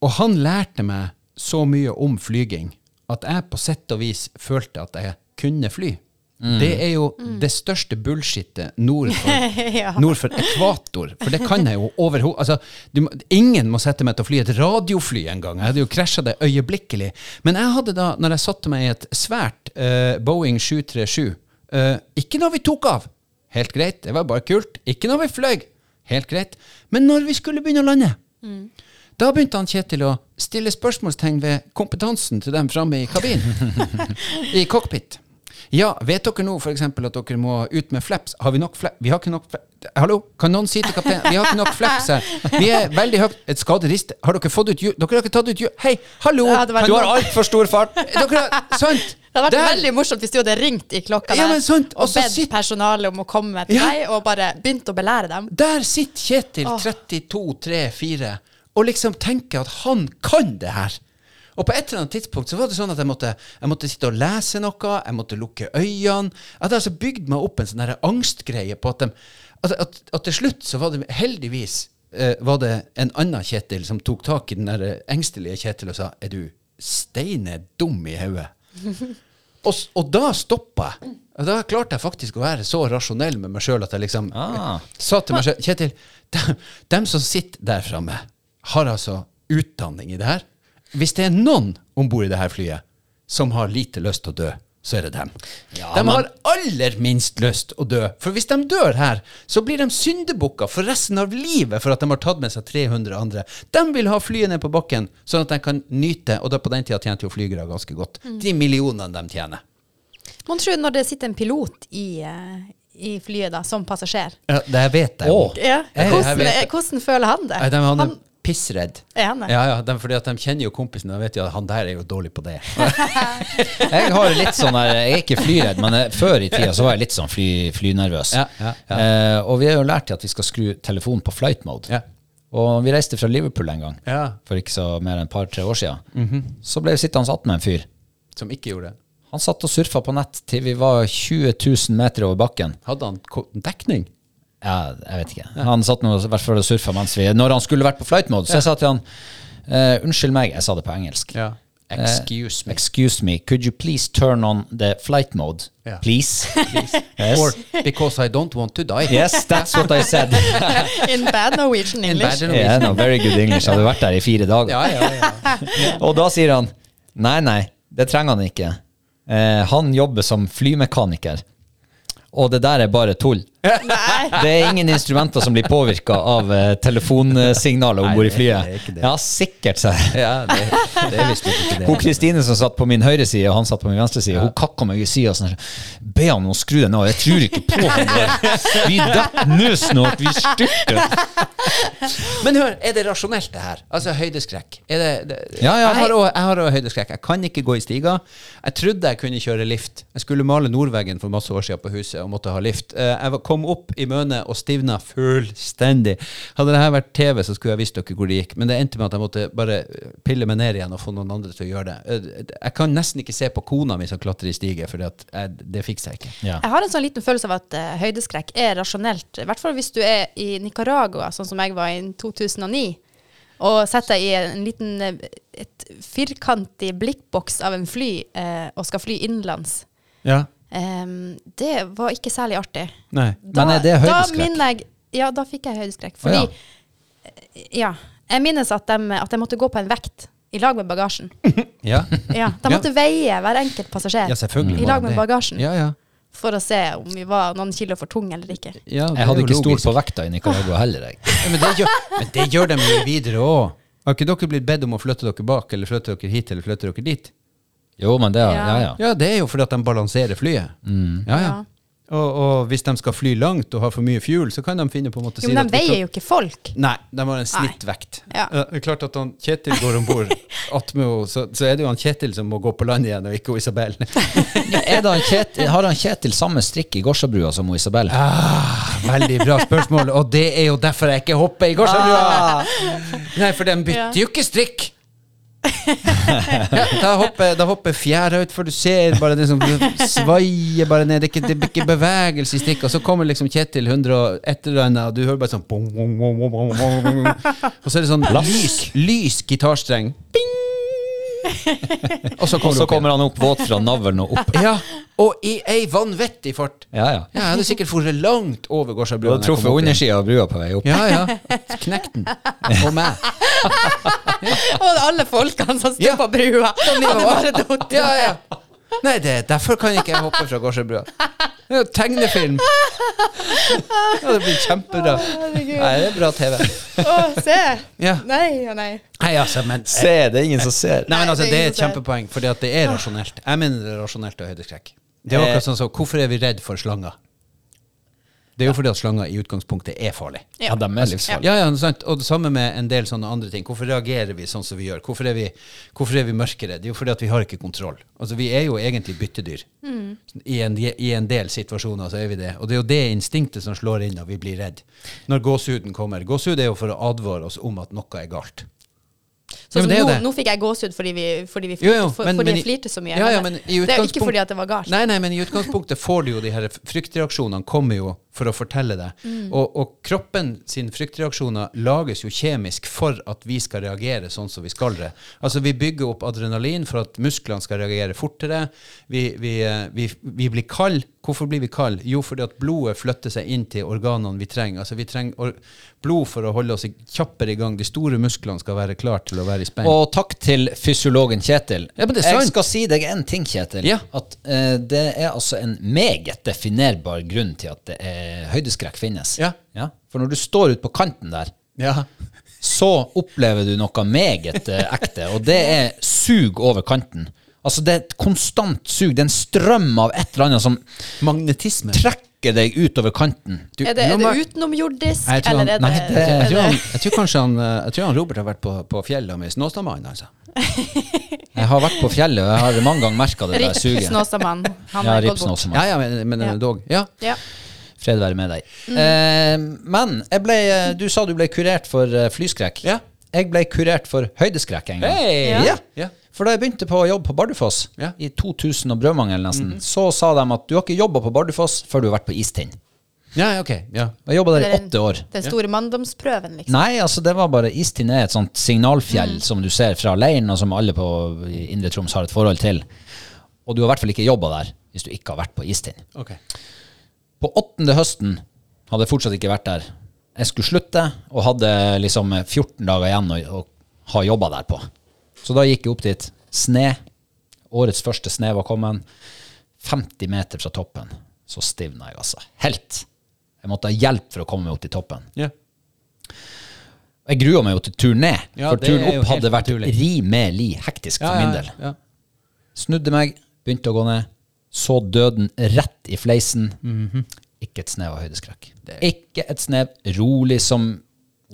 A: og han lærte meg så mye om flyging at jeg på sett og vis følte at jeg kunne fly. Det er jo det største bullshitet nord for,
B: Ja.
A: nord for ekvator, for det kan jeg jo overhodet altså, du må- Ingen må sette meg til å fly et radiofly en gang. Jeg hadde jo krasja det øyeblikkelig. Men jeg hadde da, når jeg satte meg i et svært eh, Boeing 737 eh, Ikke når vi tok av, helt greit, det var bare kult. Ikke når vi fløy, helt greit. Men når vi skulle begynne å lande. Da begynte han Kjetil å stille spørsmålstegn ved kompetansen til dem framme i kabinen. I cockpit. Ja, vet dere nå f.eks. at dere må ut med flaps? Har vi nok flaps? Vi har ikke nok flaps. Hallo, kan noen si til kapteinen Vi har ikke nok flaps her. Vi er veldig høyt Et skaderist. Har dere fått ut hjul? Dere har ikke tatt ut hjul? Hei, hallo!
B: Ja, det var-
A: Kan-
C: Du har altfor stor fart!
A: Dere har Sant!
B: Det hadde vært
A: Der-
B: veldig morsomt hvis du hadde ringt i klokka
A: Ja,
B: der
A: men sant,
B: og
A: og så
B: bedt
A: sitt-
B: personalet om å komme til
A: Ja.
B: deg og bare begynt å belære dem.
A: Der sitter Kjetil,
B: Åh.
A: 32, 3, 4, og liksom tenker at han kan det her. Og på et eller annet tidspunkt så var det sånn at jeg måtte, jeg måtte sitte og lese noe, jeg måtte lukke øynene. Jeg hadde altså bygd meg opp en sånn her angstgreie på at, dem- at, at, at til slutt så var det heldigvis eh, var det en annen Kjetil som tok tak i den der eh, engstelige Kjetil og sa Er du steine dum i hodet? Og, s- og da stoppa jeg. Og Da klarte jeg faktisk å være så rasjonell med meg sjøl at jeg liksom
C: Ah.
A: sa til meg sjøl Kjetil, dem, dem som sitter der framme, har altså utdanning i det her. Hvis det er noen om bord i det her flyet som har lite lyst til å dø, så er det dem.
C: Ja,
A: de
C: men-
A: har aller minst lyst å dø. For hvis de dør her, så blir de syndebukker for resten av livet for at de har tatt med seg 300 andre. De vil ha flyet ned på bakken, sånn at de kan nyte Og da på den tida tjente jo flygere ganske godt.
B: Mm.
A: De millionene de tjener.
B: Mon tro når det sitter en pilot i, eh, i flyet da, som passasjer.
A: Ja, det vet jeg.
C: Åh.
B: Ja,
A: Jeg- jeg
B: hvordan,
A: vet det.
B: hvordan føler han det?
A: Nei, de, han er
B: Han-
A: pissredd.
B: Er han det?
A: Ja, ja, de, fordi at de kjenner jo kompisen, og de vet jo at han der er jo dårlig på det.
C: Jeg har litt sånn der, jeg er ikke flyredd, men eh, før i tida så var jeg litt sånn fly, flynervøs.
A: Ja, ja,
C: Eh, og vi har jo lært til at vi skal skru telefonen på flight mode.
A: Ja.
C: Og vi reiste fra Liverpool en gang,
A: Ja. Mhm.
C: for ikke så mer enn et par-tre år siden. Så ble vi sittende attmed en fyr.
A: Som ikke gjorde det.
C: Han satt og surfa på nett til vi var 20 000 meter over bakken.
A: Hadde han ko- dekning?
C: Ja, jeg vet ikke. Han satt nå i hvert fall og surfa mens vi Når han skulle vært på flight mode, så jeg sa til han eh, Unnskyld meg, jeg sa det på engelsk.
A: Ja. Eh, Excuse me.
C: Excuse me, could you please turn on the flight mode,
A: Ja.
C: please? Yes.
A: Or because I don't want to die.
C: Yes, that's what I said.
B: In bad Norwegian
A: In
B: English.
A: bad-
C: Yeah, no, very good English. Jeg hadde vært der i fire dager.
A: Ja, ja, ja.
C: Og da sier han nei, nei, det trenger han ikke. Eh, han jobber som flymekaniker. Og det der er bare tull.
B: Nei.
C: Det er ingen instrumenter som blir påvirka av eh, telefonsignalet om bord i
A: Nei, det er- det er
C: flyet.
A: ikke det.
C: Ja, sikkert, sa jeg.
A: ja det, det er visst ikke
C: Hun
A: det.
C: Kristine som satt på min høyre side, og han satt på min venstre side, hun kakka meg i sida sånn. her, Be han om å skru deg ned. Jeg tror ikke på han der. Vi detter nå snart. Vi styrter.
A: Men hør, er det rasjonelt, det her? Altså høydeskrekk. Er det, det,
C: Ja, ja.
A: Jeg har også- jeg har òg høydeskrekk. Jeg kan ikke gå i stiger. Jeg trodde jeg kunne kjøre lift. Jeg skulle male Nordveggen for masse år siden på huset og måtte ha lift. Eh, Jeg var- kom opp i mønet og stivna fullstendig. Hadde det her vært TV, så skulle jeg visst dere hvor det gikk, men det endte med at jeg måtte bare eh, pille meg ned igjen og få noen andre til å gjøre det. Eh, Jeg kan nesten ikke se på kona mi som klatrer i stiger, for det fikser jeg ikke.
C: Ja.
B: Jeg har en sånn liten følelse av at eh, høydeskrekk er rasjonelt. I hvert fall hvis du er i Nicaragua, sånn som jeg var i 2009, og setter deg i en liten eh, et firkantig blikkboks av en fly eh, og skal fly innenlands.
A: Ja.
B: Em, det var ikke særlig artig.
A: Nei.
C: Men er det høydeskrekk?
B: Da minner jeg, ja, da fikk jeg høydeskrekk. Fordi eh,
C: Å,
B: ja, jeg minnes at, dem- at jeg måtte gå på en vekt i lag med bagasjen.
A: Ja,
B: Ja, De måtte veie hver enkelt passasjer
A: ja selvfølgelig.
B: i
A: var
B: lag
A: det
B: med
A: det.
B: bagasjen
A: Ja, ja.
B: for å se om vi var noen kilo for tunge eller ikke.
A: Ja, det
C: Jeg hadde
A: er jo
C: ikke stolt
A: logisk.
C: på vekta i Nicaragua heller, jeg.
A: Ja, men, det gjør, men det gjør de jo videre òg. Har ikke dere blitt bedt om å flytte dere bak, eller flytte dere hit, eller flytte dere dit?
C: Jo, men det, ja, ja.
A: Ja, det er jo fordi at de balanserer flyet. Ja, ja.
B: Ja.
A: Og, og hvis de skal fly langt og har for mye fuel, så kan de finne på en måte
B: Jo, men de
A: vi
B: veier jo ikke folk.
A: Nei, de har en snittvekt.
B: Ja.
A: Eh, Det er klart at han Kjetil går om bord, så, så er det jo han Kjetil som må gå på land igjen, og ikke hun Isabel.
C: Er det han Kjetil, har han Kjetil samme strikk i Gårdsabrua som hun Isabel?
A: Ah, Veldig bra spørsmål, og det er jo derfor jeg ikke hopper i går, skjønner du. Nei, for de bytter
B: Ja.
A: jo ikke strikk. Da hopper, da hopper fjæra ut, for du ser bare det som svaier bare ned. Det er ikke, det er ikke bevegelse i stikket. Og så kommer liksom Kjetil 100 og et eller annet, og du hører bare sånn bong, bong, bong, bong, bong, bong, bong, bong. Og så er det sånn lys, lys gitarstreng. Bing! Og så
C: Og
A: kommer,
C: så
A: det opp
C: kommer han opp våt fra navlen og opp.
A: igjen. Ja, og i ei vanvittig fart.
C: Ja, ja.
A: Ja, jeg hadde sikkert dratt langt over
C: Du
A: Gårdsabrua.
C: hadde truffet undersida av brua på vei opp.
A: Ja, ja. Knekt den. Og meg.
B: Og alle folkene som sto
A: Ja.
B: på brua. Hadde bare datt.
A: Ja, ja. Nei, det, derfor kan ikke jeg hoppe fra Gårdsabrua. Det er jo tegnefilm. Ja, det blir kjempebra.
B: herregud.
A: Nei, det er bra TV.
B: Å, se!
A: Ja.
B: Nei og nei.
A: Nei, altså, men
C: Se, det er ingen som ser.
A: Nei, men altså,
B: Nei,
A: det er
B: det er ingen
A: et
B: som ser.
A: kjempepoeng, fordi at det er rasjonelt. Jeg mener det er rasjonelt og høydeskrekk. Det er akkurat sånn som Hvorfor er vi redd for slanger? Det er jo fordi at slanger i utgangspunktet er farlig.
C: Ja, de er livsfarlige.
A: Ja, ja, sant. Og det samme med en del sånne andre ting. Hvorfor reagerer vi sånn som vi gjør? Hvorfor er vi, hvorfor er vi mørkere? Det er jo fordi at vi har ikke kontroll. Altså, vi er jo egentlig byttedyr. I, en, I en del situasjoner så er vi det. Og det er jo det instinktet som slår inn når vi blir redd. Når gåsehuden kommer. Gåsehud er jo for å advare oss om at noe er galt. men
B: Sånn som
A: det er
B: nå,
A: det.
B: nå fikk jeg gåsehud fordi vi, fordi vi
A: Jo,
B: flirte,
A: jo,
B: for,
A: men-
B: fordi
A: men
B: jeg
A: i-
B: flirte så mye.
A: Ja, ja,
B: Men
A: men i
B: det er jo ikke
A: utgangspunkt-
B: fordi at det var galt.
A: Nei, nei, men i utgangspunktet får du jo de her fryktreaksjonene kommer jo for å fortelle deg.
B: Mm.
A: Og, og kroppen sin fryktreaksjoner lages jo kjemisk for at vi skal reagere sånn som vi skal det. Altså vi bygger opp adrenalin for at musklene skal reagere fortere. Vi, vi, eh, vi, vi blir kald. Hvorfor blir vi kald? Jo, fordi at blodet flytter seg inn til organene vi trenger. Altså vi trenger or blod for å holde oss i- kjappere i gang. De store musklene skal være klare til å være i spenn.
C: Og takk til fysiologen Kjetil.
A: Ja, men det er sant.
C: jeg skal si deg en ting, Kjetil.
A: Ja.
C: At eh, det er altså en meget definerbar grunn til at det er høydeskrekk finnes.
A: Ja.
C: For når du står ute på kanten der,
A: ja.
C: så opplever du noe meget eh, ekte, og det er sug over kanten. Altså Det er et konstant sug. Det er en strøm av et eller annet som
A: Magnetisme.
C: trekker deg utover kanten. Du,
B: Er det, er det
A: Nå, Mar-
B: utenomjordisk,
A: Nei, Jeg tror, han,
B: eller er
A: nei,
B: det,
A: det, jeg, tror han, jeg tror kanskje han, eh, jeg tror han Robert har vært på, på fjellet med Snåsamannen, altså.
C: jeg har vært på fjellet, og jeg har mange ganger merka det der suget.
B: Ripsnåsamann. Han
C: Ja,
B: har gått bort.
C: ripsnåsamann.
A: Ja, ja, men, men
B: Ja.
A: dog. Ja.
B: Ja.
C: Fred være med deg.
B: Mm.
C: Eh, men jeg ble, eh, du sa du ble kurert for eh, flyskrekk.
A: Ja.
C: Jeg ble kurert for høydeskrekk en gang.
B: Ja.
C: Ja.
A: Ja.
C: For da jeg begynte på jobb på Bardufoss,
A: Ja. Mhm.
C: i 2000 og brødmangel nesten, så sa de at du har ikke jobba på Bardufoss før du har vært på Istind.
A: Ja, ok. Ja.
C: Og Jeg jobba der
B: Det
C: i
B: er
C: åtte år.
B: Den store manndomsprøven, liksom.
C: Nei, altså det var bare Istind er et sånt signalfjell som du ser fra leiren, og som alle på i Indre Troms har et forhold til. Og du har i hvert fall ikke jobba der hvis du ikke har vært på Istind.
A: Ok.
C: På åttende høsten hadde jeg fortsatt ikke vært der. Jeg skulle slutte, og hadde liksom 14 dager igjen å, å ha jobba der på. Så da gikk jeg opp dit. Sne. Årets første sne var kommet. 50 meter fra toppen. Så stivna jeg, altså. Helt. Jeg måtte ha hjelp for å komme meg opp til toppen.
A: Ja.
C: Jeg grua meg jo til turen ned,
A: Ja,
C: for
A: det
C: turen
A: er jo
C: opp hadde
A: helt
C: vært
A: naturlig.
C: rimelig hektisk for
A: Ja,
C: min
A: ja,
C: del.
A: ja.
C: Snudde meg, begynte å gå ned, så døden rett i fleisen.
A: Mhm.
C: Ikke et snev av høydeskrekk. Ikke et snev rolig som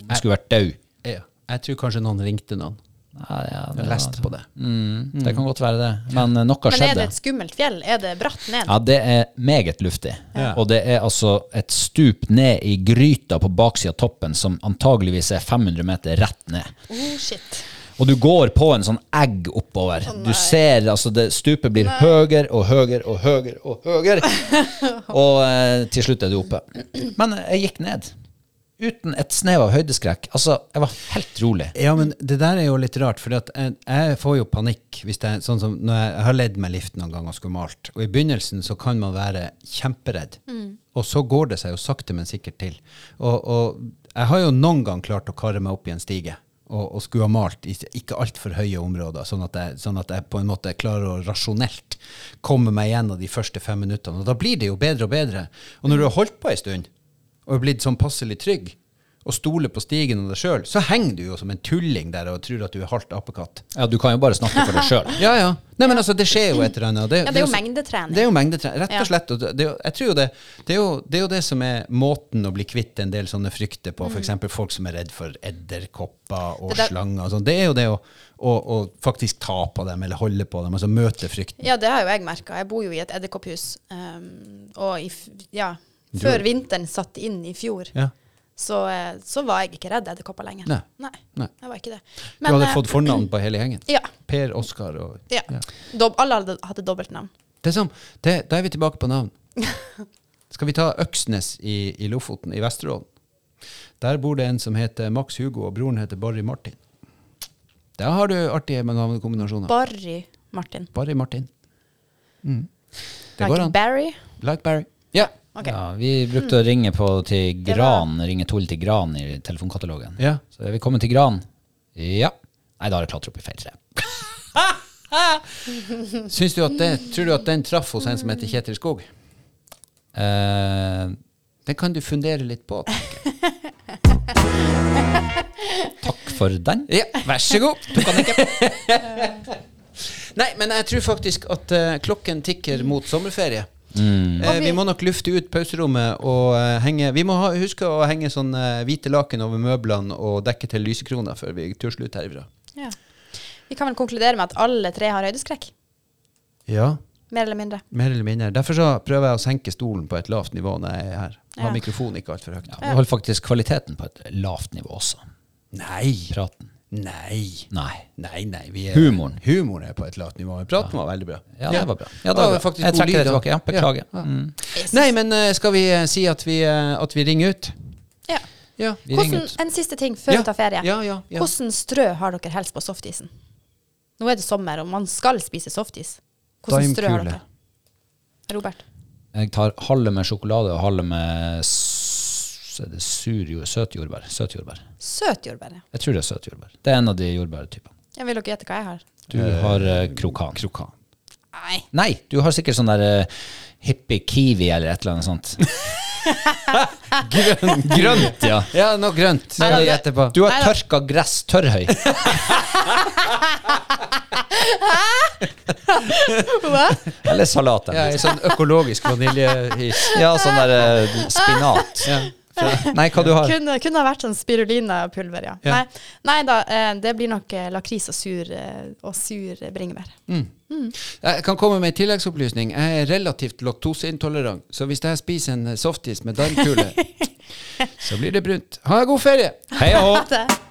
C: om jeg skulle vært død.
A: Ja. Jeg tror kanskje noen ringte noen.
C: Nei, ja, det,
A: Jeg leste på det.
C: Mm, det kan godt være det, men eh, noe
B: Men er det
C: skjedde.
B: et skummelt fjell? Er det bratt ned?
C: Ja, det er meget luftig.
A: Ja.
C: Og det er altså et stup ned i gryta på baksida av toppen som antageligvis er 500 meter rett ned.
B: Oh, shit.
C: Og du går på en sånn egg oppover. du ser altså det, Stupet blir høyere og høyere og høyere og høyere. og eh, til slutt er du oppe. Men jeg gikk ned. Uten et snev av høydeskrekk. Altså, jeg var helt rolig.
A: Ja, men det der er jo litt rart, for at jeg, jeg får jo panikk hvis det er sånn som når jeg, jeg har ledd med lift noen ganger og skulle malt. Og i begynnelsen så kan man være kjemperedd, og så går det seg jo sakte, men sikkert til. Og, og jeg har jo noen gang klart å karre meg opp i en stige. Og, og skulle ha malt i ikke altfor høye områder, sånn at, jeg, sånn at jeg på en måte klarer å rasjonelt komme meg gjennom de første fem minuttene. Og da blir det jo bedre og bedre. Og når du har holdt på ei stund, og er blitt sånn passelig trygg, og stoler på stigen og deg sjøl, så henger du jo som en tulling der og tror at du er halvt apekatt.
C: Ja, du kan jo bare snakke for deg sjøl.
A: Ja, ja. Nei, men altså, det skjer jo et eller annet.
B: Ja, det er jo mengdetrening.
A: Det er jo mengdetrening, rett
B: Ja.
A: og slett. Og det, det er jo- jeg tror jo det, det, er jo, det er jo det som er måten å bli kvitt en del sånne frykter på, f.eks. folk som er redd for edderkopper og
B: Mm. Det der-
A: slanger og sånn. Det er jo det å, å, å faktisk ta på dem eller holde på dem, altså møte frykten.
B: Ja, det har jo jeg merka. Jeg bor jo i et edderkopphus. ehm, og i, f- ja, før vinteren satt inn i fjor,
A: Ja.
B: så, eh, så var jeg ikke redd edderkopper lenger.
A: Nei. Nei.
B: jeg var ikke det.
A: du hadde
B: eh,
A: fått fornavn på hele gjengen.
B: Ja.
A: Per, Oskar og
B: ja.
A: Ja.
B: Dob alle hadde, hadde dobbeltnavn.
A: Det er sånn, det, Da er vi tilbake på navn. Skal vi ta Øksnes i, i Lofoten, i Vesterålen? Der bor det en som heter Max Hugo, og broren heter Barry Martin. Der har du artige navnekombinasjoner.
B: Barry Martin.
A: Barry Martin. Mm. Det
B: Like
A: går an.
B: Barry.
A: Like Barry. Ja.
B: Ok.
C: Ja, vi brukte å ringe på til
B: Det var-
C: Gran, ringe Torill til Gran i telefonkatalogen.
A: Ja.
C: Så er vi kommet til Gran. Ja. Nei, da har jeg klatra opp i feil tre.
A: Syns du at det, tror du at den traff hos en som heter Kjetil Skog?
C: Eh,
A: Den kan du fundere litt på.
C: takk for den.
A: Ja, vær så god. Nei, men jeg tror faktisk at eh, klokken tikker mot sommerferie. Eh,
C: Mm.
B: Og
A: vi
B: vi-
A: må nok lufte ut pauserommet og eh, henge Vi må ha, huske å henge sånn eh, hvite laken over møblene og dekke til lysekroner før vi tusler ut herifra.
B: Ja. Vi kan vel konkludere med at alle tre har høydeskrekk.
A: Ja,
B: Mer eller mindre.
A: mer eller mindre. Derfor så prøver jeg å senke stolen på et lavt nivå når jeg er her. Ha
B: Ja.
A: mikrofonen ikke altfor høyt.
C: Ja, vi holder faktisk kvaliteten på et lavt nivå også.
A: Nei.
C: Praten.
A: Nei.
C: Nei.
A: Nei, nei. Vi er,
C: Humoren.
A: Humoren er på et lavt nivå. Men Praten var veldig bra.
C: Ja, det var bra. Ja,
A: det var faktisk
C: jeg
A: god lyd,
C: trekker det
A: da.
C: tilbake. Ja, beklager. Mm.
A: Nei, men eh, skal vi eh, si at vi, eh, at vi ringer ut?
B: Ja.
A: Ja.
C: Vi ringer
B: Hvordan,
C: ut.
B: en siste ting før
A: Ja.
B: vi tar ferie.
A: Ja, ja, ja.
B: Hvordan strø har dere helst på softisen? Nå er det sommer, og man skal spise softis. Hvordan strø har
A: Daimkule.
B: dere? Robert?
C: Jeg tar halve med sjokolade og halve med s- er det sur jord, søt jordbær. Søt jordbær.
B: Søt jordbær. ja.
C: Jeg tror det er søt jordbær. Det er en av de jordbærtypene.
B: Jeg vil dere gjette hva jeg har?
C: Du har eh, krokan.
A: Krokan.
B: Nei.
C: Nei, du har sikkert sånn der eh, hippie kiwi eller et eller annet sånt.
A: Grønt.
C: Grønt, ja.
A: Ja, noe grønt. Skal jeg gjette på.
C: Du har
B: Neida.
C: tørka gress tørrhøy. Eller salat.
A: Ja,
C: eller.
A: en sånn økologisk vaniljehis.
C: Ja, sånn der eh, spinat.
A: Ja.
C: Nei, hva du har?
B: Kunne, kunne ha vært sånn spirulinapulver, ja.
A: Ja.
B: Nei, nei da, eh, det blir nok eh, lakris og sur, eh, og sur eh, bringebær.
A: Jeg kan komme med en tilleggsopplysning. Jeg er relativt laktoseintolerant, så hvis jeg spiser en softis med darmkule, så blir det brunt. Ha en god ferie!
C: Hei og hå!
B: Det-